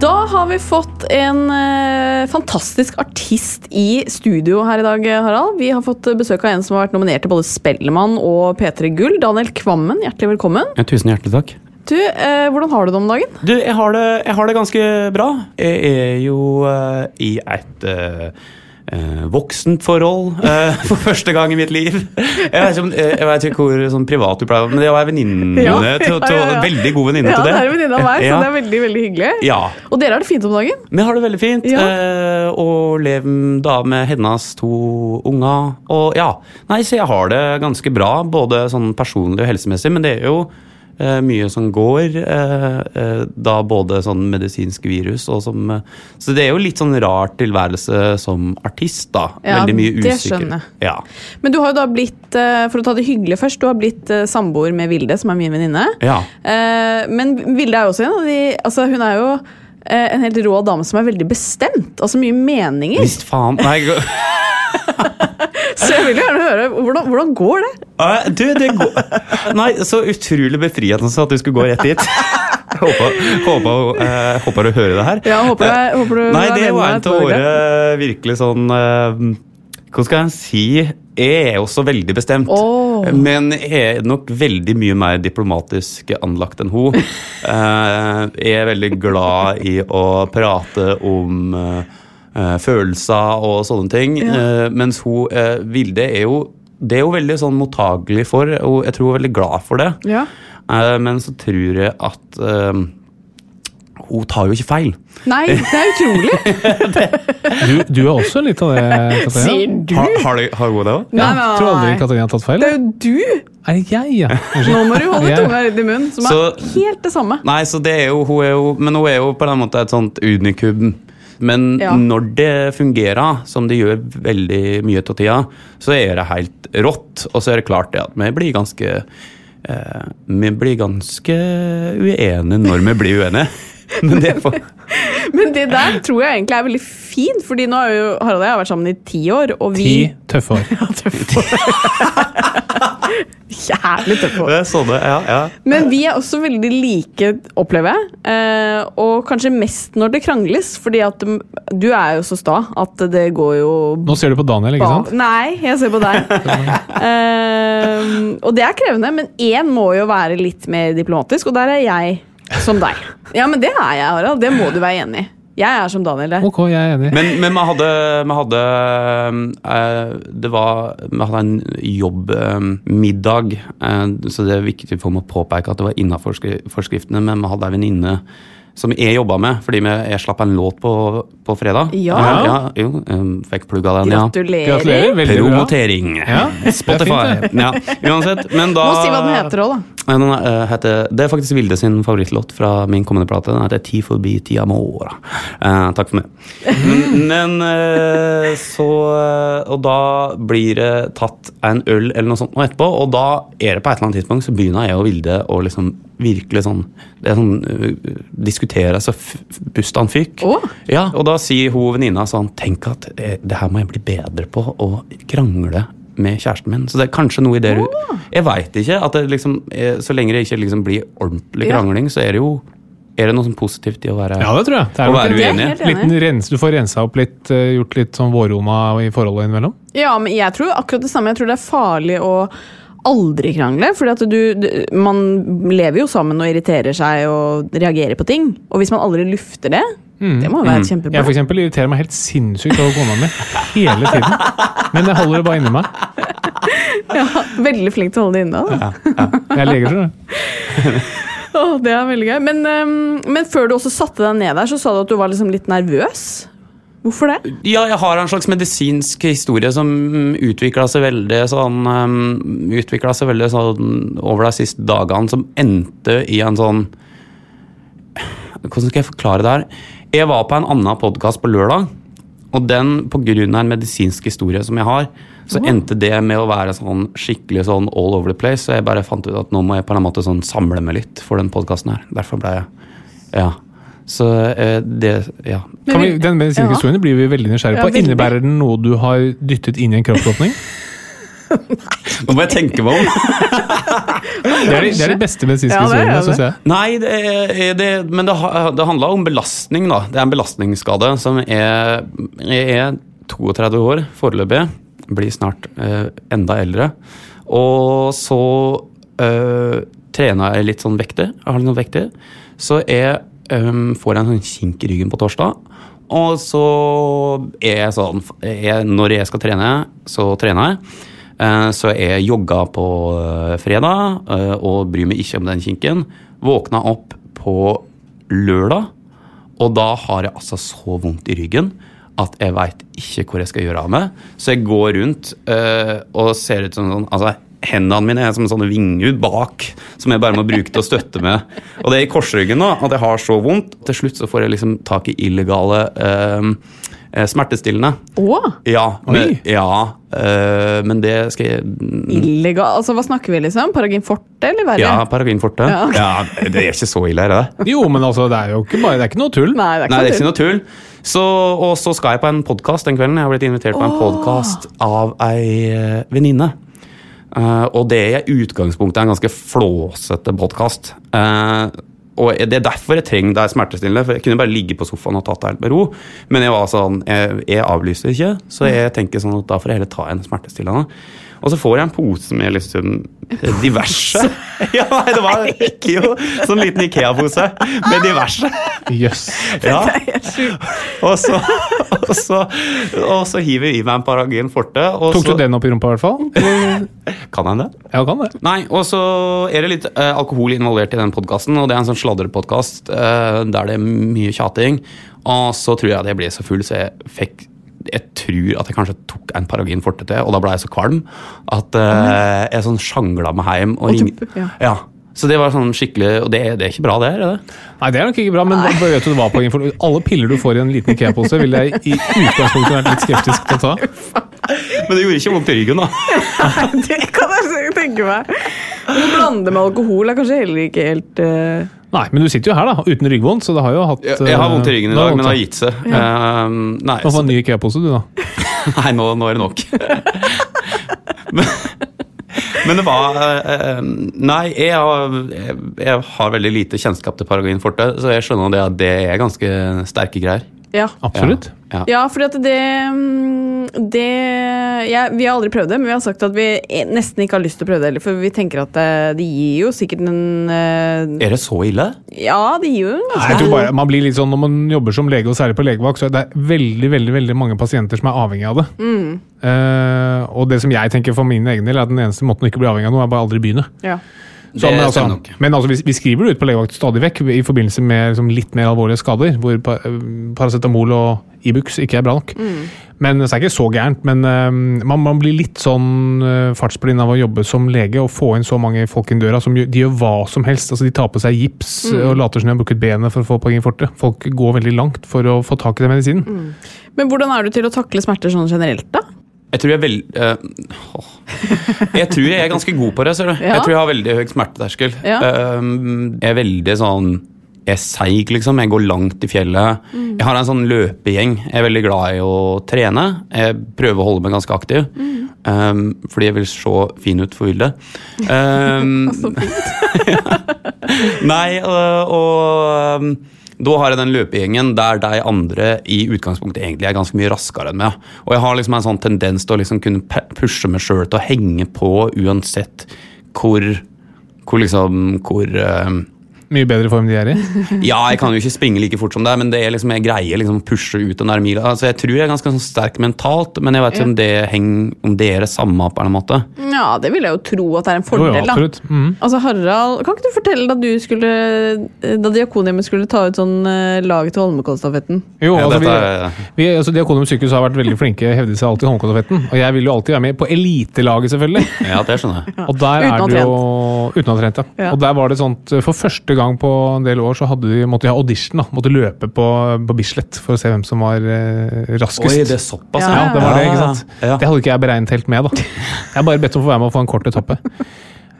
B: Da har vi fått en eh, fantastisk artist i studio her i dag, Harald. Vi har fått besøk av en som har vært nominert til både Spellemann og P3 Gull. Daniel Kvammen, hjertelig velkommen.
D: Ja, tusen hjertelig takk.
B: Du, eh, hvordan har du det om dagen?
D: Du, jeg har, det, jeg har det ganske bra. Jeg er jo eh, i et eh, eh, voksent forhold eh, for første gang i mitt liv. Jeg vet ikke, om, eh, jeg vet ikke hvor sånn privat du pleier å Men jeg var venninne
B: Ja,
D: Mm, til, til,
B: ja, ja, ja.
D: Veldig god venninne
B: Ja,
D: til
B: det
D: det.
B: er en venninne av meg, så
D: Ja.
B: det er veldig, veldig hyggelig.
D: Ja.
B: Og dere har det fint om dagen?
D: Vi har det veldig fint,
B: Ja.
D: eh, og lever da med hennes to unger. Og ja, nei, så jeg har det ganske bra, både sånn personlig og helsemessig, men det er jo eh, mye som går. eh, eh, Da både sånn medisinsk virus og som eh, Så det er jo litt sånn rar tilværelse som artist, da.
B: Ja,
D: Veldig mye
B: det
D: usikker.
B: skjønner jeg.
D: Ja.
B: Men du har jo da blitt, eh, for å ta det hyggelig først, du har blitt eh, samboer med Vilde, som er min venninne.
D: Ja.
B: Eh, Men Vilde er jo også en av de altså Hun er jo eh, en helt rå dame som er veldig bestemt. Altså mye meninger.
D: Visst faen. Nei, gå-
B: Så jeg vil jo gjerne høre hvordan, hvordan går det?
D: Eh, Du, det går Nei, så utrolig befriende så at du skulle gå rett dit. Håper, håper, eh, håper du hører det her.
B: Ja, håper jeg- håper du
D: Nei,
B: er
D: det
B: med
D: var
B: meg
D: en
B: på
D: av
B: det.
D: våre virkelig sånn eh, Hva skal jeg si? Jeg er også veldig bestemt,
B: Åh.
D: men jeg er nok veldig mye mer diplomatisk anlagt enn hun. Eh, jeg er veldig glad i å prate om eh, eh, følelser og sånne ting, eh, mens hun, eh, Vilde, er jo det er hun veldig sånn mottagelig for, og jeg tror hun er veldig glad for det.
B: Ja.
D: Eh, men så tror jeg at eh, hun tar jo ikke feil.
B: Nei, det er utrolig.
C: Du, du er også litt av det, Katarina.
B: Sier du?
D: Har, har, det- har hun det òg?
B: Nei,
C: Ja, tror aldri
B: nei.
C: Katarina har tatt feil.
B: Det er jo du!
C: Er det jeg, ja? Unnskyld.
B: Nå må du holde
C: Ja.
B: tunga litt i munnen, som er
D: Så-
B: helt det samme.
D: Nei, så det er jo, hun er jo Men hun er jo på den måten et sånt unikum. Men
B: Ja.
D: når det fungerer, som det gjør veldig mye av tida, så er det helt rått. Og så er det klart det at vi blir ganske eh, Vi blir ganske uenige når vi blir uenige. Men det får
B: Men det der tror jeg egentlig er veldig fint, fordi nå har jo Harald og jeg vært sammen i ti år, og vi
C: Ti tøffe år.
B: Jævlig tøffe år.
D: Det er sånne, ja, ja.
B: Men vi er også veldig like, opplever jeg. Eh, og kanskje mest når det krangles, fordi at mm, du er jo så sta at det går jo
C: Nå ser du på Daniel, ikke sant?
B: ba- Nei, jeg ser på deg. eh, og det er krevende, men én må jo være litt mer diplomatisk, og der er jeg som deg. Ja, men det er jeg, Harald. Det må du være enig i. Jeg er som Daniel der.
C: Ok, jeg er enig.
D: Men, men vi hadde, vi hadde eh, Det var Vi hadde en eh, jobbmiddag, så det er viktig for meg å påpeke at det var innafor forskriftene, men vi hadde ei venninne som jeg jobba med, fordi vi, jeg slapp en låt på, på fredag.
B: Ja.
D: Eh, ja jo, eh, fikk plugga den, ja.
B: Gratulerer.
C: Gratulerer. Veldig bra.
D: Promotering.
C: Ja, det er
D: Spotify.
C: fint,
D: Ja, uansett, men da
B: Må si hva den heter òg, da.
D: Nei, den eh, heter, det er faktisk Vilde sin favorittlåt fra min kommende plate. Den heter 'Ti forbi ti amora'. Eh, takk for meg. Men, men eh, så eh, Og da blir det tatt en øl eller noe sånt nå etterpå, og da er det på et eller annet tidspunkt så begynner jeg og Vilde å liksom virkelig sånn Det er sånn eh, Diskutere så f- f- busta han fyk.
B: Å.
D: Ja, og da sier hun venninna sånn Tenk at eh, det her må jeg bli bedre på å krangle med kjæresten min. Så det er kanskje noe i det du Jeg veit ikke. at det liksom, eh, Så lenge det ikke liksom blir ordentlig
B: Ja.
D: krangling, så er det jo er det noe sånn positivt i å være
C: Ja, det tror jeg. Det
D: Å
C: nok
D: være
C: en
D: uenig.
B: Det er helt
C: Liten rens, du får rensa opp litt, eh, gjort litt sånn vårona i forholdet innimellom.
B: Ja, men jeg tror akkurat det samme. Jeg tror det er farlig å aldri krangle. Fordi at du, du Man lever jo sammen og irriterer seg og reagerer på ting. Og hvis man aldri lufter det Det må jo være
C: Jeg
B: kjempebra.
C: for eksempel irriterer meg helt sinnssykt over kona mi hele tiden. Men jeg holder det bare inni meg.
B: Veldig flink til å holde det inne. da.
C: Jeg er lege, tror du.
B: Åh, det er veldig gøy. Men, ehm, men før du også satte deg ned der, så sa du at du var liksom litt nervøs. Hvorfor det?
D: Ja, jeg har en slags medisinsk historie som utvikla seg veldig sånn um, Utvikla seg veldig sånn over de siste dagene, som endte i en sånn Hvordan skal jeg forklare det her? Jeg var på en annen podkast på lørdag, og den pga. en medisinsk historie som jeg har, så endte det med å være sånn skikkelig sånn all over the place, så jeg bare fant ut at nå må jeg på en måte sånn samle meg litt for den podkasten her. Derfor ble jeg Ja. Så eh, det Ja.
C: Kan vi, den medisinske
B: Ja.
C: historien blir vi veldig nysgjerrig
B: Ja,
C: på.
B: veldig.
C: Innebærer den noe du har dyttet inn i en kroppsåpning?
D: Nå må jeg tenke meg om.
C: Det er de, det er de beste medisinske
B: Ja, det er
C: historiene,
B: det.
C: syns jeg.
D: Nei, det, er- det, men det, ha- det handla om belastning, da. Det er en belastningsskade som er Jeg er 32 år foreløpig. Blir snart eh, enda eldre. Og så eh, trener jeg litt sånn vekter. Jeg har litt sånn vekter. Så jeg eh, får en sånn kink i ryggen på torsdag. Og så er jeg sånn jeg, Når jeg skal trene, så trener jeg. Eh, Så jeg jogga på eh, fredag eh, og bryr meg ikke om den kinken. Våkna opp på lørdag, og da har jeg altså så vondt i ryggen at jeg veit ikke hvor jeg skal gjøre av meg. Så jeg går rundt eh, og ser ut som sånn Altså, hendene mine er som sånne vinghud bak, som jeg bare må bruke til å støtte med. Og det er i korsryggen nå, at jeg har så vondt. Til slutt så får jeg liksom tak i illegale eh, eh, smertestillende.
B: Å,
D: Ja, men,
C: Oi.
D: ja, eh, men det skal jeg
B: illegal Altså, hva snakker vi, liksom? Paragin forte, eller verre?
D: Ja, Paragon Forte.
B: Ja, ok.
D: Ja, det er ikke så ille, er det det?
C: Jo, men altså, det er jo ikke bare Det er ikke noe tull.
B: Nei, det er
D: Nei, det er
B: ikke
D: ikke
B: noe tull.
D: noe tull. Så, og så skal jeg på en podkast den kvelden. Jeg har blitt invitert på en podkast av ei eh, venninne. Eh, og det er i utgangspunktet en ganske flåsete podkast. og det er derfor jeg trenger deg smertestillende, for jeg kunne bare ligge på sofaen og tatt det helt med ro. Men jeg var sånn, jeg, jeg avlyser ikke, så jeg tenker sånn at da får jeg heller ta en smertestillende. Og så får jeg en pose med liksom diverse Ja, nei, det var ikke jo sånn liten Ikea-pose med diverse.
C: Jøss.
D: Ja. og, så, og, så, og så hiver vi i meg en Paragon Forte. Og
C: Tok
D: så,
C: du den opp i rumpa, i hvert fall?
D: Kan jeg det?
C: Ja, kan det.
D: Nei, og så er det litt eh, alkohol involvert i den podkasten, og det er en sånn sladrepodkast eh, der det er mye tjating. Og så tror jeg at jeg ble så full, så jeg fikk jeg tror at jeg kanskje tok en Paragin forte til, og da ble jeg så kvalm at eh, jeg sånn sjangla meg hjem. Og ring...
B: du- ja.
D: ja. Så det var sånn skikkelig Og det, det er ikke bra, det? er det?
C: Nei, det er nok ikke bra, men hva vet du hva på info? Alle piller du får i en liten IKEA-pose, ville jeg i utgangspunktet vært litt skeptisk til å ta.
D: Men det gjorde ikke vondt i ryggen, da.
B: Det kan jeg tenke meg. Men å blande med alkohol er kanskje heller ikke helt eh,
C: Nei, men du sitter jo her, da, uten ryggvondt, så det har jo hatt
D: Jeg, jeg har vondt i ryggen i
C: det
D: dag, men det har
C: vondt,
D: gitt seg. Eh, nei,
C: da. Nå
D: så-
C: får du en ny IKEA-pose, du, da.
D: Nei, nå, nå er det nok. men, men det var eh, eh, Nei, jeg har, jeg, jeg har veldig lite kjennskap til Paragon Forte, så jeg skjønner det at det er ganske sterke greier.
B: Ja.
C: Absolutt.
D: Ja.
B: Ja, fordi at det, mm, det jeg- Vi har aldri prøvd det, men vi har sagt at vi e, nesten ikke har lyst til å prøve det heller. For vi tenker at eh, det, det gir jo sikkert en eh,
D: Er det så ille?
B: Ja, det gir jo en
C: Nei,
B: ganske
C: jeg tror bare, man blir litt sånn, Når man jobber som lege, og særlig på legevakt, så er det veldig veldig, veldig mange pasienter som er avhengig av det. Eh, og det som jeg tenker for min egen del, er at den eneste måten å ikke bli avhengig av noe, er bare aldri begynne.
B: ja.
C: Så,
D: Det
C: men altså,
D: stemmer nok.
C: men altså, vi, vi skriver det ut på legevakt stadig vekk i forbindelse med liksom, litt mer alvorlige skader, hvor pa eh, paracetamol og Ibux ikke er bra nok. Men Så er det ikke så gærent, men eh, man, man blir litt sånn uh, fartsblind av å jobbe som lege og få inn så mange folk inn døra som gjør, de gjør hva som helst. Altså, de tar på seg gips og later som de har brukket benet for å få poeng i fortet. Folk går veldig langt for å få tak i den medisinen.
B: Men hvordan er du til å takle smerter sånn generelt, da?
D: Jeg tror jeg er vel... eh, åh. jeg tror jeg er ganske god på det, ser du.
B: Ja.
D: Jeg tror jeg har veldig høy smerteterskel.
B: Ja.
D: Eh, jeg er veldig sånn jeg er seig, liksom. Jeg går langt i fjellet. Jeg har en sånn løpegjeng. Jeg er veldig glad i å trene. Jeg prøver å holde meg ganske aktiv. eh, fordi jeg vil se fin ut for bildet. Um, Nei, og, og um, da har jeg den løpegjengen der de andre i utgangspunktet egentlig er ganske mye raskere enn meg. Og jeg har liksom en sånn tendens til å liksom kunne pe- pushe meg sjøl til å henge på uansett hvor hvor liksom hvor um,
C: Mye bedre form de er i.
D: Ja, jeg kan jo ikke springe like fort som deg, men det er liksom, jeg greier liksom å pushe ut den der mila. Altså, jeg tror jeg er ganske sånn sterk mentalt, men jeg vet ikke om det henger, om det er det samme på en måte.
B: Ja, det vil jeg jo tro at det er en
C: Jo, jo,
B: fordel, da.
C: absolutt. Mhm.
B: Altså, Harald, kan ikke du fortelle da du skulle eh, Da Diakonhjemmet skulle ta ut sånn eh, laget til Holmenkollstafetten?
C: Jo,
D: Ja,
C: altså,
D: dette
C: vi,
D: er-
C: vi, altså Diakonum sykehus har vært veldig flinke, hevder seg alltid i Holmenkollstafetten. Og jeg vil jo alltid være med på elitelaget, selvfølgelig.
D: Ja, det skjønner jeg.
C: Og der
B: Uten å
C: er det jo Uten å ha trent, ja.
B: Ja.
C: Og der var det sånt For første gang på en del år så hadde de, måtte de ha audition. da Måtte løpe på, på Bislett for å se hvem som var eh, raskest.
D: Oi, det er såpass,
C: Altså, ja, det var det, ikke sant?
D: Ja.
C: Det hadde ikke jeg beregnet helt med, da. Jeg har bare bedt om å få være med og få en kort etappe.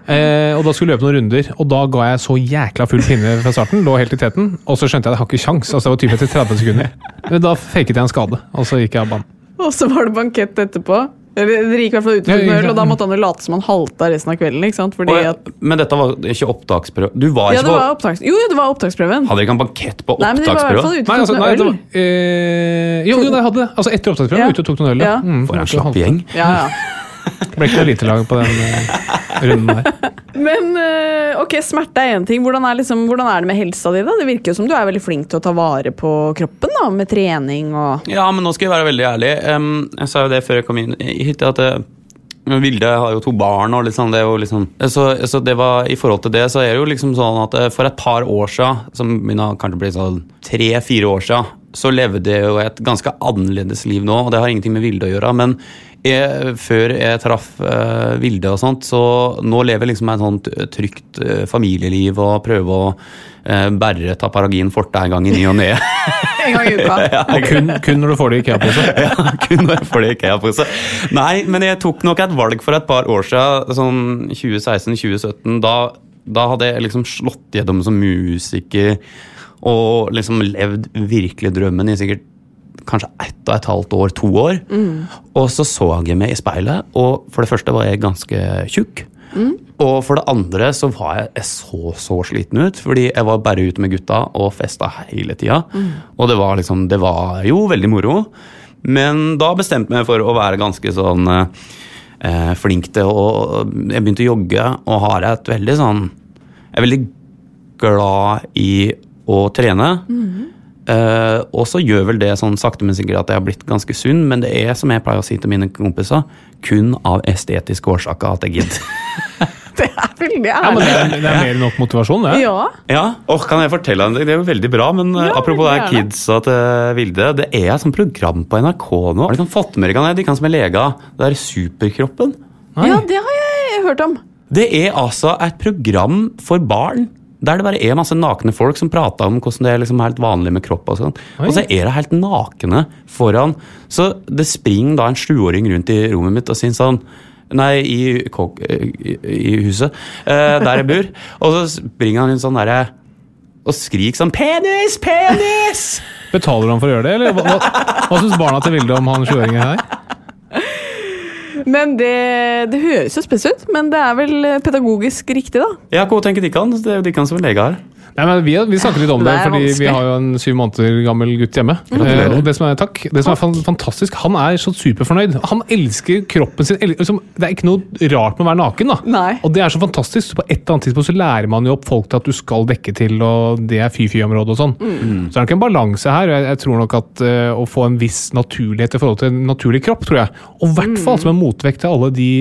C: Eh, og da skulle jeg løpe noen runder, og da ga jeg så jækla full pinne fra starten. Lå helt i teten, og så skjønte jeg at jeg har ikke kjangs. Altså, det var typ etter 30 sekunder. Men da faket jeg en skade, og så gikk jeg av banen.
B: Og så var det bankett etterpå. Eller, Dere gikk i hvert fall ut for
C: Ja, ja,
B: en øl, og da
C: ja.
B: måtte han jo late som han halta resten av kvelden. ikke sant? Fordi
D: Og jeg-
B: at,
D: Men dette var ikke opptaksprøve? Du var
B: ja,
D: ikke
B: det var
D: på
B: opptaks, jo, jo, det var opptaksprøven.
D: Hadde dere ikke en bankett på
B: Nei, men de var i hvert fall
D: opptaksprøve?
B: ute
C: Nei,
B: og
C: altså,
B: tok
C: nei,
B: noe
C: det
B: øl.
C: var, eh, jo, jo, nei, jeg hadde det. Altså, etter opptaksprøven
B: Ja.
C: var jeg ute og tok noen øl.
B: Ja.
D: For en slapp gjeng.
B: Ja, ja.
C: Ble ikke noe elitelag på den eh, runden der.
B: Men eh, ok, smerte er én ting. Hvordan er, liksom, hvordan er det med helsa di? da? Det virker jo som du er veldig flink til å ta vare på kroppen da, med trening og
D: Ja, men nå skal jeg være veldig ærlig. Em, jeg sa jo det før jeg kom inn hit, at eh, Vilde har jo to barn, og liksom, det er jo liksom så, så det var, i forhold til det, så er det jo liksom sånn at eh, for et par år siden, som begynner å kanskje bli sånn tre-fire år siden, så levde jeg jo et ganske annerledes liv nå, og det har ingenting med Vilde å gjøre, men jeg, før jeg traff eh, Vilde og sånt, så nå lever jeg liksom et sånt trygt eh, familieliv og prøver å eh, bære Taparagin forte en gang i ny og ne.
B: En gang i uka.
C: Og kun, kun når du får det i IKEA-pose.
D: ja, kun når jeg får det i IKEA-pose. Nei, men jeg tok nok et valg for et par år siden, sånn 2016-2017. Da, da hadde jeg liksom slått gjennom som musiker og liksom levd virkelig drømmen i sikkert kanskje ett og et halvt år, to år. Og så så jeg meg i speilet, og for det første var jeg ganske tjukk. Og for det andre så var jeg, jeg så så sliten ut, fordi jeg var bare ute med gutta og festa hele tida.
B: Mm.
D: Og det var liksom, det var jo veldig moro, men da bestemte jeg meg for å være ganske sånn eh, flink til å Jeg begynte å jogge og har et veldig sånn Jeg er veldig glad i å trene. Eh, og så gjør vel det sånn sakte, men sikkert at jeg har blitt ganske sunn, men det er, som jeg pleier å si til mine kompiser, kun av estetiske årsaker at jeg gidder.
B: Det er veldig
C: Ja, men
B: ærlig.
C: det er, det er mer enn nok motivasjon, det.
B: Ja.
D: ja, og kan jeg fortelle deg, det er jo veldig bra, men eh,
B: Ja,
D: apropos det
B: veldig
D: her
B: gjerne.
D: kidsa til Vilde, det er et sånt program på NRK nå. Har de kan fått med dere, kan jeg- de kan som er lega, det er Superkroppen.
B: ja, det har jeg hørt om.
D: Det er altså et program for barn. Der det bare er masse nakne folk som prater om hvordan det er liksom helt vanlig med kropp. Og sånn. Og så er det helt nakne foran. Sånn. Så det springer da en sjuåring rundt i rommet mitt og sier sånn Nei, i, kok, i, i huset eh, der jeg bor. Og så springer han rundt sånn derre og skriker sånn 'Penis! Penis!'
C: Betaler han for å gjøre det, eller hva, hva, hva syns barna til Vilde om han 20-åringen her?
B: Men det, det høres jo spes ut, men det er vel eh, pedagogisk riktig, da.
D: Ja, hva tenker dere? Det er jo dere som er leger her.
C: Nei, men vi, vi snakker litt om det,
B: Det er
C: fordi vi
B: vanskelig.
C: har jo en syv måneder gammel gutt hjemme. Eh, og det som er, takk, det som er fan- fantastisk, han er så superfornøyd. Han elsker kroppen sin. el- Liksom, det er ikke noe rart med å være naken. da.
B: Nei.
C: Og det er så fantastisk. så På et eller annet tidspunkt så lærer man jo opp folk til at du skal dekke til, og det er fy-fy-område og sånn.
B: Mm.
C: Så det er nok en balanse her. og Jeg, jeg tror nok at eh, å få en viss naturlighet i forhold til en naturlig kropp, tror jeg. Og i
B: Mm.
C: hvert fall som en motvekt til alle de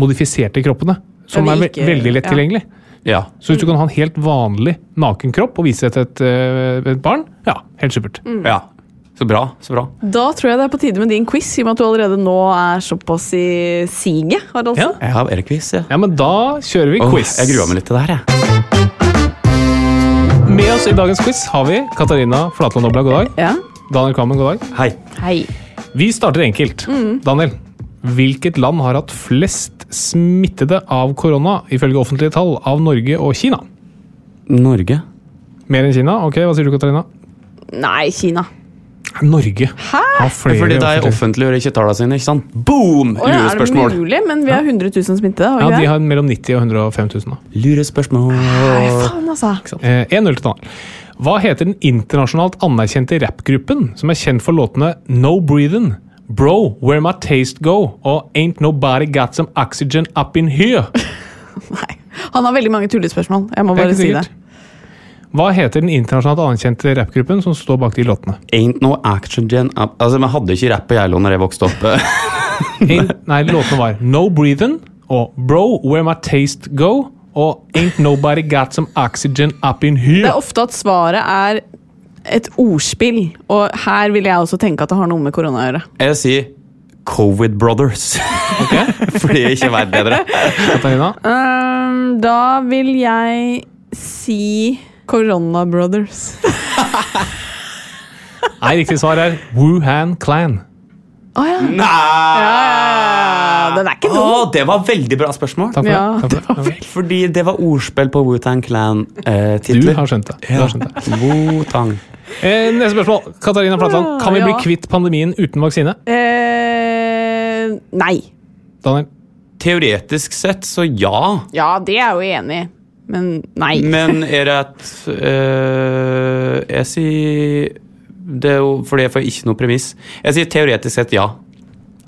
C: modifiserte kroppene, som
B: Ja,
C: er
B: de
C: ve
B: ikke-
C: veldig lett
B: ja.
C: tilgjengelig.
D: Ja.
C: Så hvis du kan ha en helt vanlig naken kropp og vise det til et, eh, et barn, ja, helt supert.
B: Mm.
D: ja. Så bra. Så bra.
B: Da tror jeg det er på tide med din quiz, i og med at du allerede nå er såpass i siget. Haraldsen.
C: Ja.
D: Jeg har Erik-quiz, ja.
C: Ja, men da kjører vi
D: Åh,
C: quiz.
D: jeg gruer meg litt til det her, jeg.
C: Med oss i dagens quiz har vi Katarina Flatland Obla, god dag.
B: Ja.
C: Daniel Kvammen, god dag.
D: Hei.
B: Hei.
C: Vi starter enkelt.
B: Mm.
C: Daniel, hvilket land har hatt flest smittede av korona, ifølge offentlige tall, av Norge og Kina?
D: Norge.
C: Mer enn Kina? Ok, hva sier du, Katarina?
B: Nei, Kina.
C: Norge har flere
D: Fordi de
C: offentlige-
D: offentliggjør ikke tallene sine, ikke sant? Boom!
B: Å ja, er det
D: Lurespørsmål.
B: mulig? Men vi har 100 000 smittede. har vi
C: Mm, Ja, de
B: det?
C: har mellom 90 og 105 000. Da.
D: Lurespørsmål.
B: Nei, faen, altså.
C: Eh, 1-0 til Daniel. Hva heter den internasjonalt anerkjente rappgruppen som er kjent for låtene No Breathin', Bro, Where My Taste Go og Ain't Nobody Got Some Oxygen Up In Here?
B: Nei. Han har veldig mange tullespørsmål. Jeg må
C: Det er
B: bare
C: ikke
B: si det.
C: sikkert. Hva heter den internasjonalt anerkjente rappgruppen som står bak de låtene?
D: Ain't no action gen up. Altså, Vi hadde ikke rap på Geilo når jeg vokste opp.
C: Ain't, nei, låtene var No Breathin' og Bro, Where My Taste Go og Ain't Nobody Got Some Oxygen Up In
B: Det
C: Here.
B: er ofte at svaret er et ordspill, og her vil jeg også tenke at det har noe med korona å gjøre.
D: Jeg sier Covid Brothers. Fordi jeg ikke veit bedre.
C: Katarina?
B: Ehm, da vil jeg si Corona Brothers.
C: Nei, riktig svar er Wuhan Clan.
B: Å ja.
D: Nei!
B: ja, ja. Den er ikke dum.
D: Å, det var veldig bra spørsmål.
C: Takk for
B: Ja,
C: det. Takk for det.
D: Fordi det var ordspill på Wutang eh,
C: Du
D: Clan-titler.
C: har skjønt det. Du har skjønt det.
D: Wutang.
C: Eh, neste spørsmål. Katarina Flatland, kan vi
B: Ja.
C: bli kvitt pandemien uten vaksine?
B: Eh, nei.
C: Daniel?
D: Teoretisk sett, så ja.
B: Ja, det er jeg jo enig i, men nei.
D: Men er det et øh, Jeg sier det er jo fordi jeg får ikke noe premiss. Jeg sier teoretisk sett ja.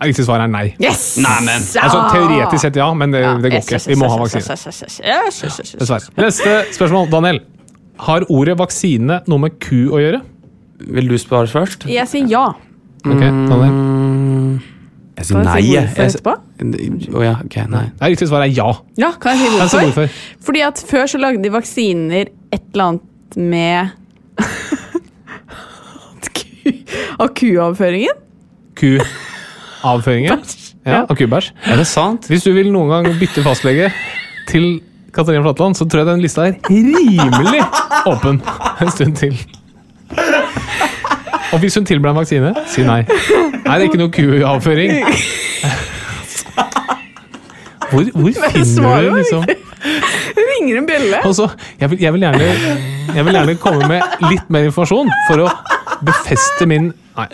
C: Ja, Riktig svar er nei.
B: Yes!
D: Nei, men,
B: Ja!
C: Altså, teoretisk sett ja, men det, det går
B: Yes,
C: ikke.
B: yes,
C: Vi må ha
B: yes, yes,
C: vaksine.
B: yes, yes, yes, yes, yes, yes.
C: Dessverre. Neste spørsmål, Daniel. Har ordet vaksine noe med ku å gjøre?
D: Vil du svare først?
B: Jeg sier ja.
C: Ok,
D: Mm.
C: Daniel.
D: Jeg
B: Skal jeg si
D: jeg.
B: hvorfor
D: Jeg s-
B: etterpå?
D: Å ja, ok, nei.
C: Nei, riktig svar er ja.
B: Ja, kan jeg si
C: Jeg sier
B: hvorfor?
C: hvorfor.
B: Fordi at før så lagde de vaksiner et eller annet med At ku- Av kuavføringen?
C: Kuavføringen. Ja, Akubæsj.
D: Er det sant?
C: Hvis du vil noen gang bytte fastlege til Katarina Flatland, så tror jeg den lista er rimelig åpen en stund til. Og hvis hun tilbyr deg en vaksine, si nei. Nei, det er ikke noe kuavføring. Hvor, hvor finner
B: svarer
C: du
B: jo
C: liksom
B: Ringer en bjelle.
C: Og så, jeg, vil, jeg, vil gjerne, jeg vil gjerne komme med litt mer informasjon for å befeste min Nei.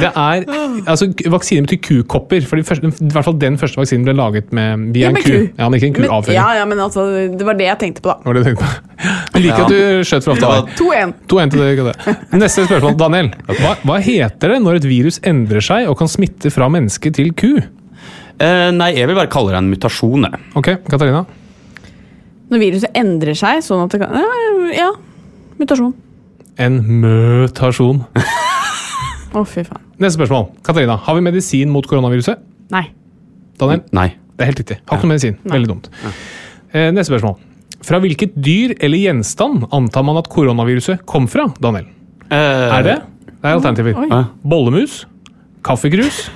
C: Det er altså, k- vaksine betyr kukopper. For de første, i hvert fall den første vaksinen ble laget med, via
B: Ja,
C: en
B: med
C: ku.
B: ku.
C: Ja, men ikke en
B: Men,
C: kuavføring.
B: ja, ja, men altså, det var det jeg tenkte på, da.
C: Var det det du tenkte på? Jeg liker at du skjøt fra hofta. der.
B: 2-1.
C: 2-1 til deg, Gade. Neste spørsmål, Daniel. Hva, hva heter det når et virus endrer seg og kan smitte fra menneske til ku?
D: Eh, nei, jeg vil bare kalle det en mutasjon. jeg.
C: Ok, Katarina.
B: Når viruset endrer seg sånn at det kan Ja, ja. mutasjon.
C: En møtasjon.
B: Å, fy faen.
C: Neste spørsmål. Katarina, har vi medisin mot koronaviruset?
B: Nei.
C: Daniel?
D: Nei.
C: Det er helt riktig. Har ikke noe medisin. Veldig dumt. Eh, Neste spørsmål. Fra hvilket dyr eller gjenstand antar man at koronaviruset kom fra, Daniel?
D: Eh,
C: Er det? Det er alternativer.
D: Oi.
C: Bollemus, kaffegrus,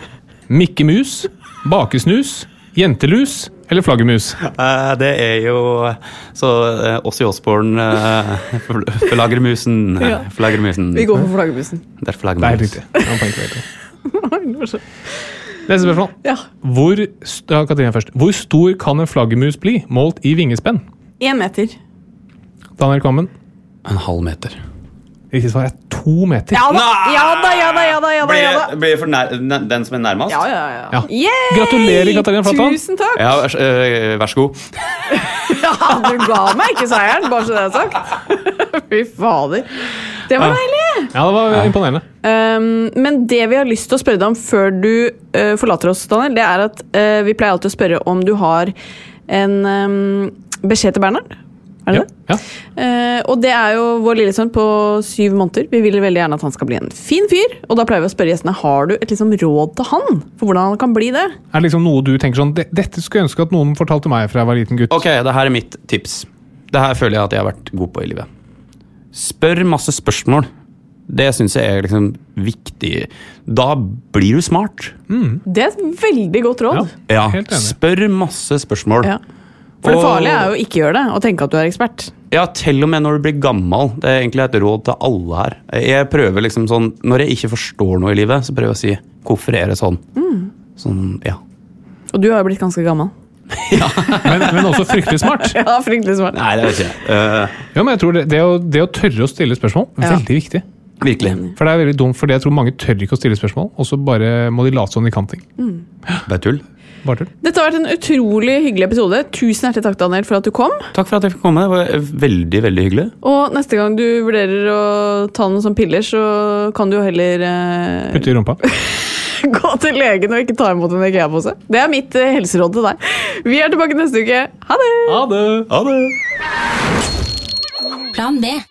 C: mikkemus, bakesnus, jentelus eller flaggermus.
D: Eh, det er jo Så uh, Åssi Osborn uh, Flaggermusen.
B: Ja.
D: eh, Flaggermusen.
B: Vi går for flaggermusen.
D: Det er
C: Det er helt
D: flaggermus.
C: riktig. Det var poeng til dere. Neste spørsmål.
B: Ja.
C: Hvor, st- ja, Katrine først. Hvor stor kan en flaggermus bli målt i vingespenn?
B: Én meter.
C: Daniel Kvammen.
D: En halv meter.
C: Riktig svar er to meter.
B: Ja da, ja da, ja da, ja da. Ja, da, ja, da.
D: Blir, blir jeg for nær, den- den som er nærmest?
B: ja, ja, ja.
C: Ja.
B: Yay!
C: Gratulerer, Katarina Flatland.
B: Tusen takk.
D: Ja, vær, så- eh, vær så god.
B: Ja, du ga meg ikke seieren, bare så det er sagt. Fy fader. Det var deilig!
C: Ja, det var imponerende.
B: Um, men det vi har lyst til å spørre deg om før du uh, forlater oss, Daniel, det er at uh, vi pleier alltid å spørre om du har en um, beskjed til Bernhard. Er det
C: Ja.
B: det?
C: Ja.
B: Eh, og det er jo vår lille sønn på syv måneder. Vi vil veldig gjerne at han skal bli en fin fyr. Og da pleier vi å spørre gjestene har du et liksom råd til han for hvordan han kan bli det.
C: Er det liksom noe du tenker sånn "Det- Dette skulle jeg ønske at noen fortalte meg fra jeg var liten gutt.
D: Ok, det her er mitt tips. Det her føler jeg at jeg har vært god på i livet. Spør masse spørsmål. Det syns jeg er liksom viktig. Da blir du smart.
B: Det er et veldig godt råd.
C: Ja.
D: Ja,
C: Helt enig.
D: Spør masse spørsmål.
B: Ja. For det
D: Og-
B: farlige er jo å ikke gjøre det og tenke at du er ekspert.
D: Ja, til og med når du blir gammel. Det er egentlig et råd til alle her. Jeg prøver liksom sånn, Når jeg ikke forstår noe i livet, så prøver jeg å si 'hvorfor er det sånn'? Sånn, ja.
B: Og du har jo blitt ganske gammel.
C: Men, men også fryktelig smart.
B: Ja, fryktelig smart.
D: Nei, det vet jeg ikke. Eh,
C: Ja, men jeg tror det, det, å, det å tørre å stille spørsmål,
B: Ja.
C: veldig viktig.
D: virkelig.
C: For det er veldig dumt, for jeg tror mange tør ikke å stille spørsmål, og så bare må de late som de kan ting.
D: Bare tull.
C: Bare tull.
B: Dette har vært en utrolig hyggelig episode. Tusen hjertelig takk, Daniel, for at du kom.
D: Takk for at jeg fikk komme. Det var veldig, veldig hyggelig.
B: Og neste gang du vurderer å ta noen sånne piller, så kan du jo heller eh,
C: Putte i rumpa.
B: gå til legen og ikke ta imot en IKEA-pose. Det er mitt eh, helseråd til deg. Vi er tilbake neste uke. Ha det!
C: Ha det!
D: Ha det!
E: Plan B.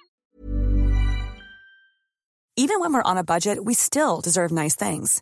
F: Even when we're on a budget, we still deserve nice things.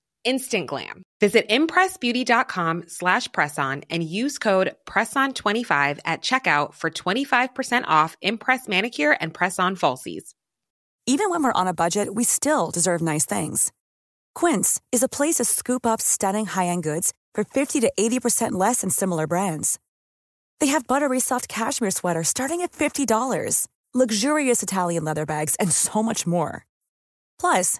G: Instant glam. Visit impressbeauty.com slash presson and use code presson25 at checkout for 25% off Impress Manicure and Press-On Falsies.
F: Even when we're on a budget, we still deserve nice things. Quince is a place to scoop up stunning high-end goods for 50 to 80% less than similar brands. They have buttery soft cashmere sweaters starting at $50, luxurious Italian leather bags, and so much more. Plus,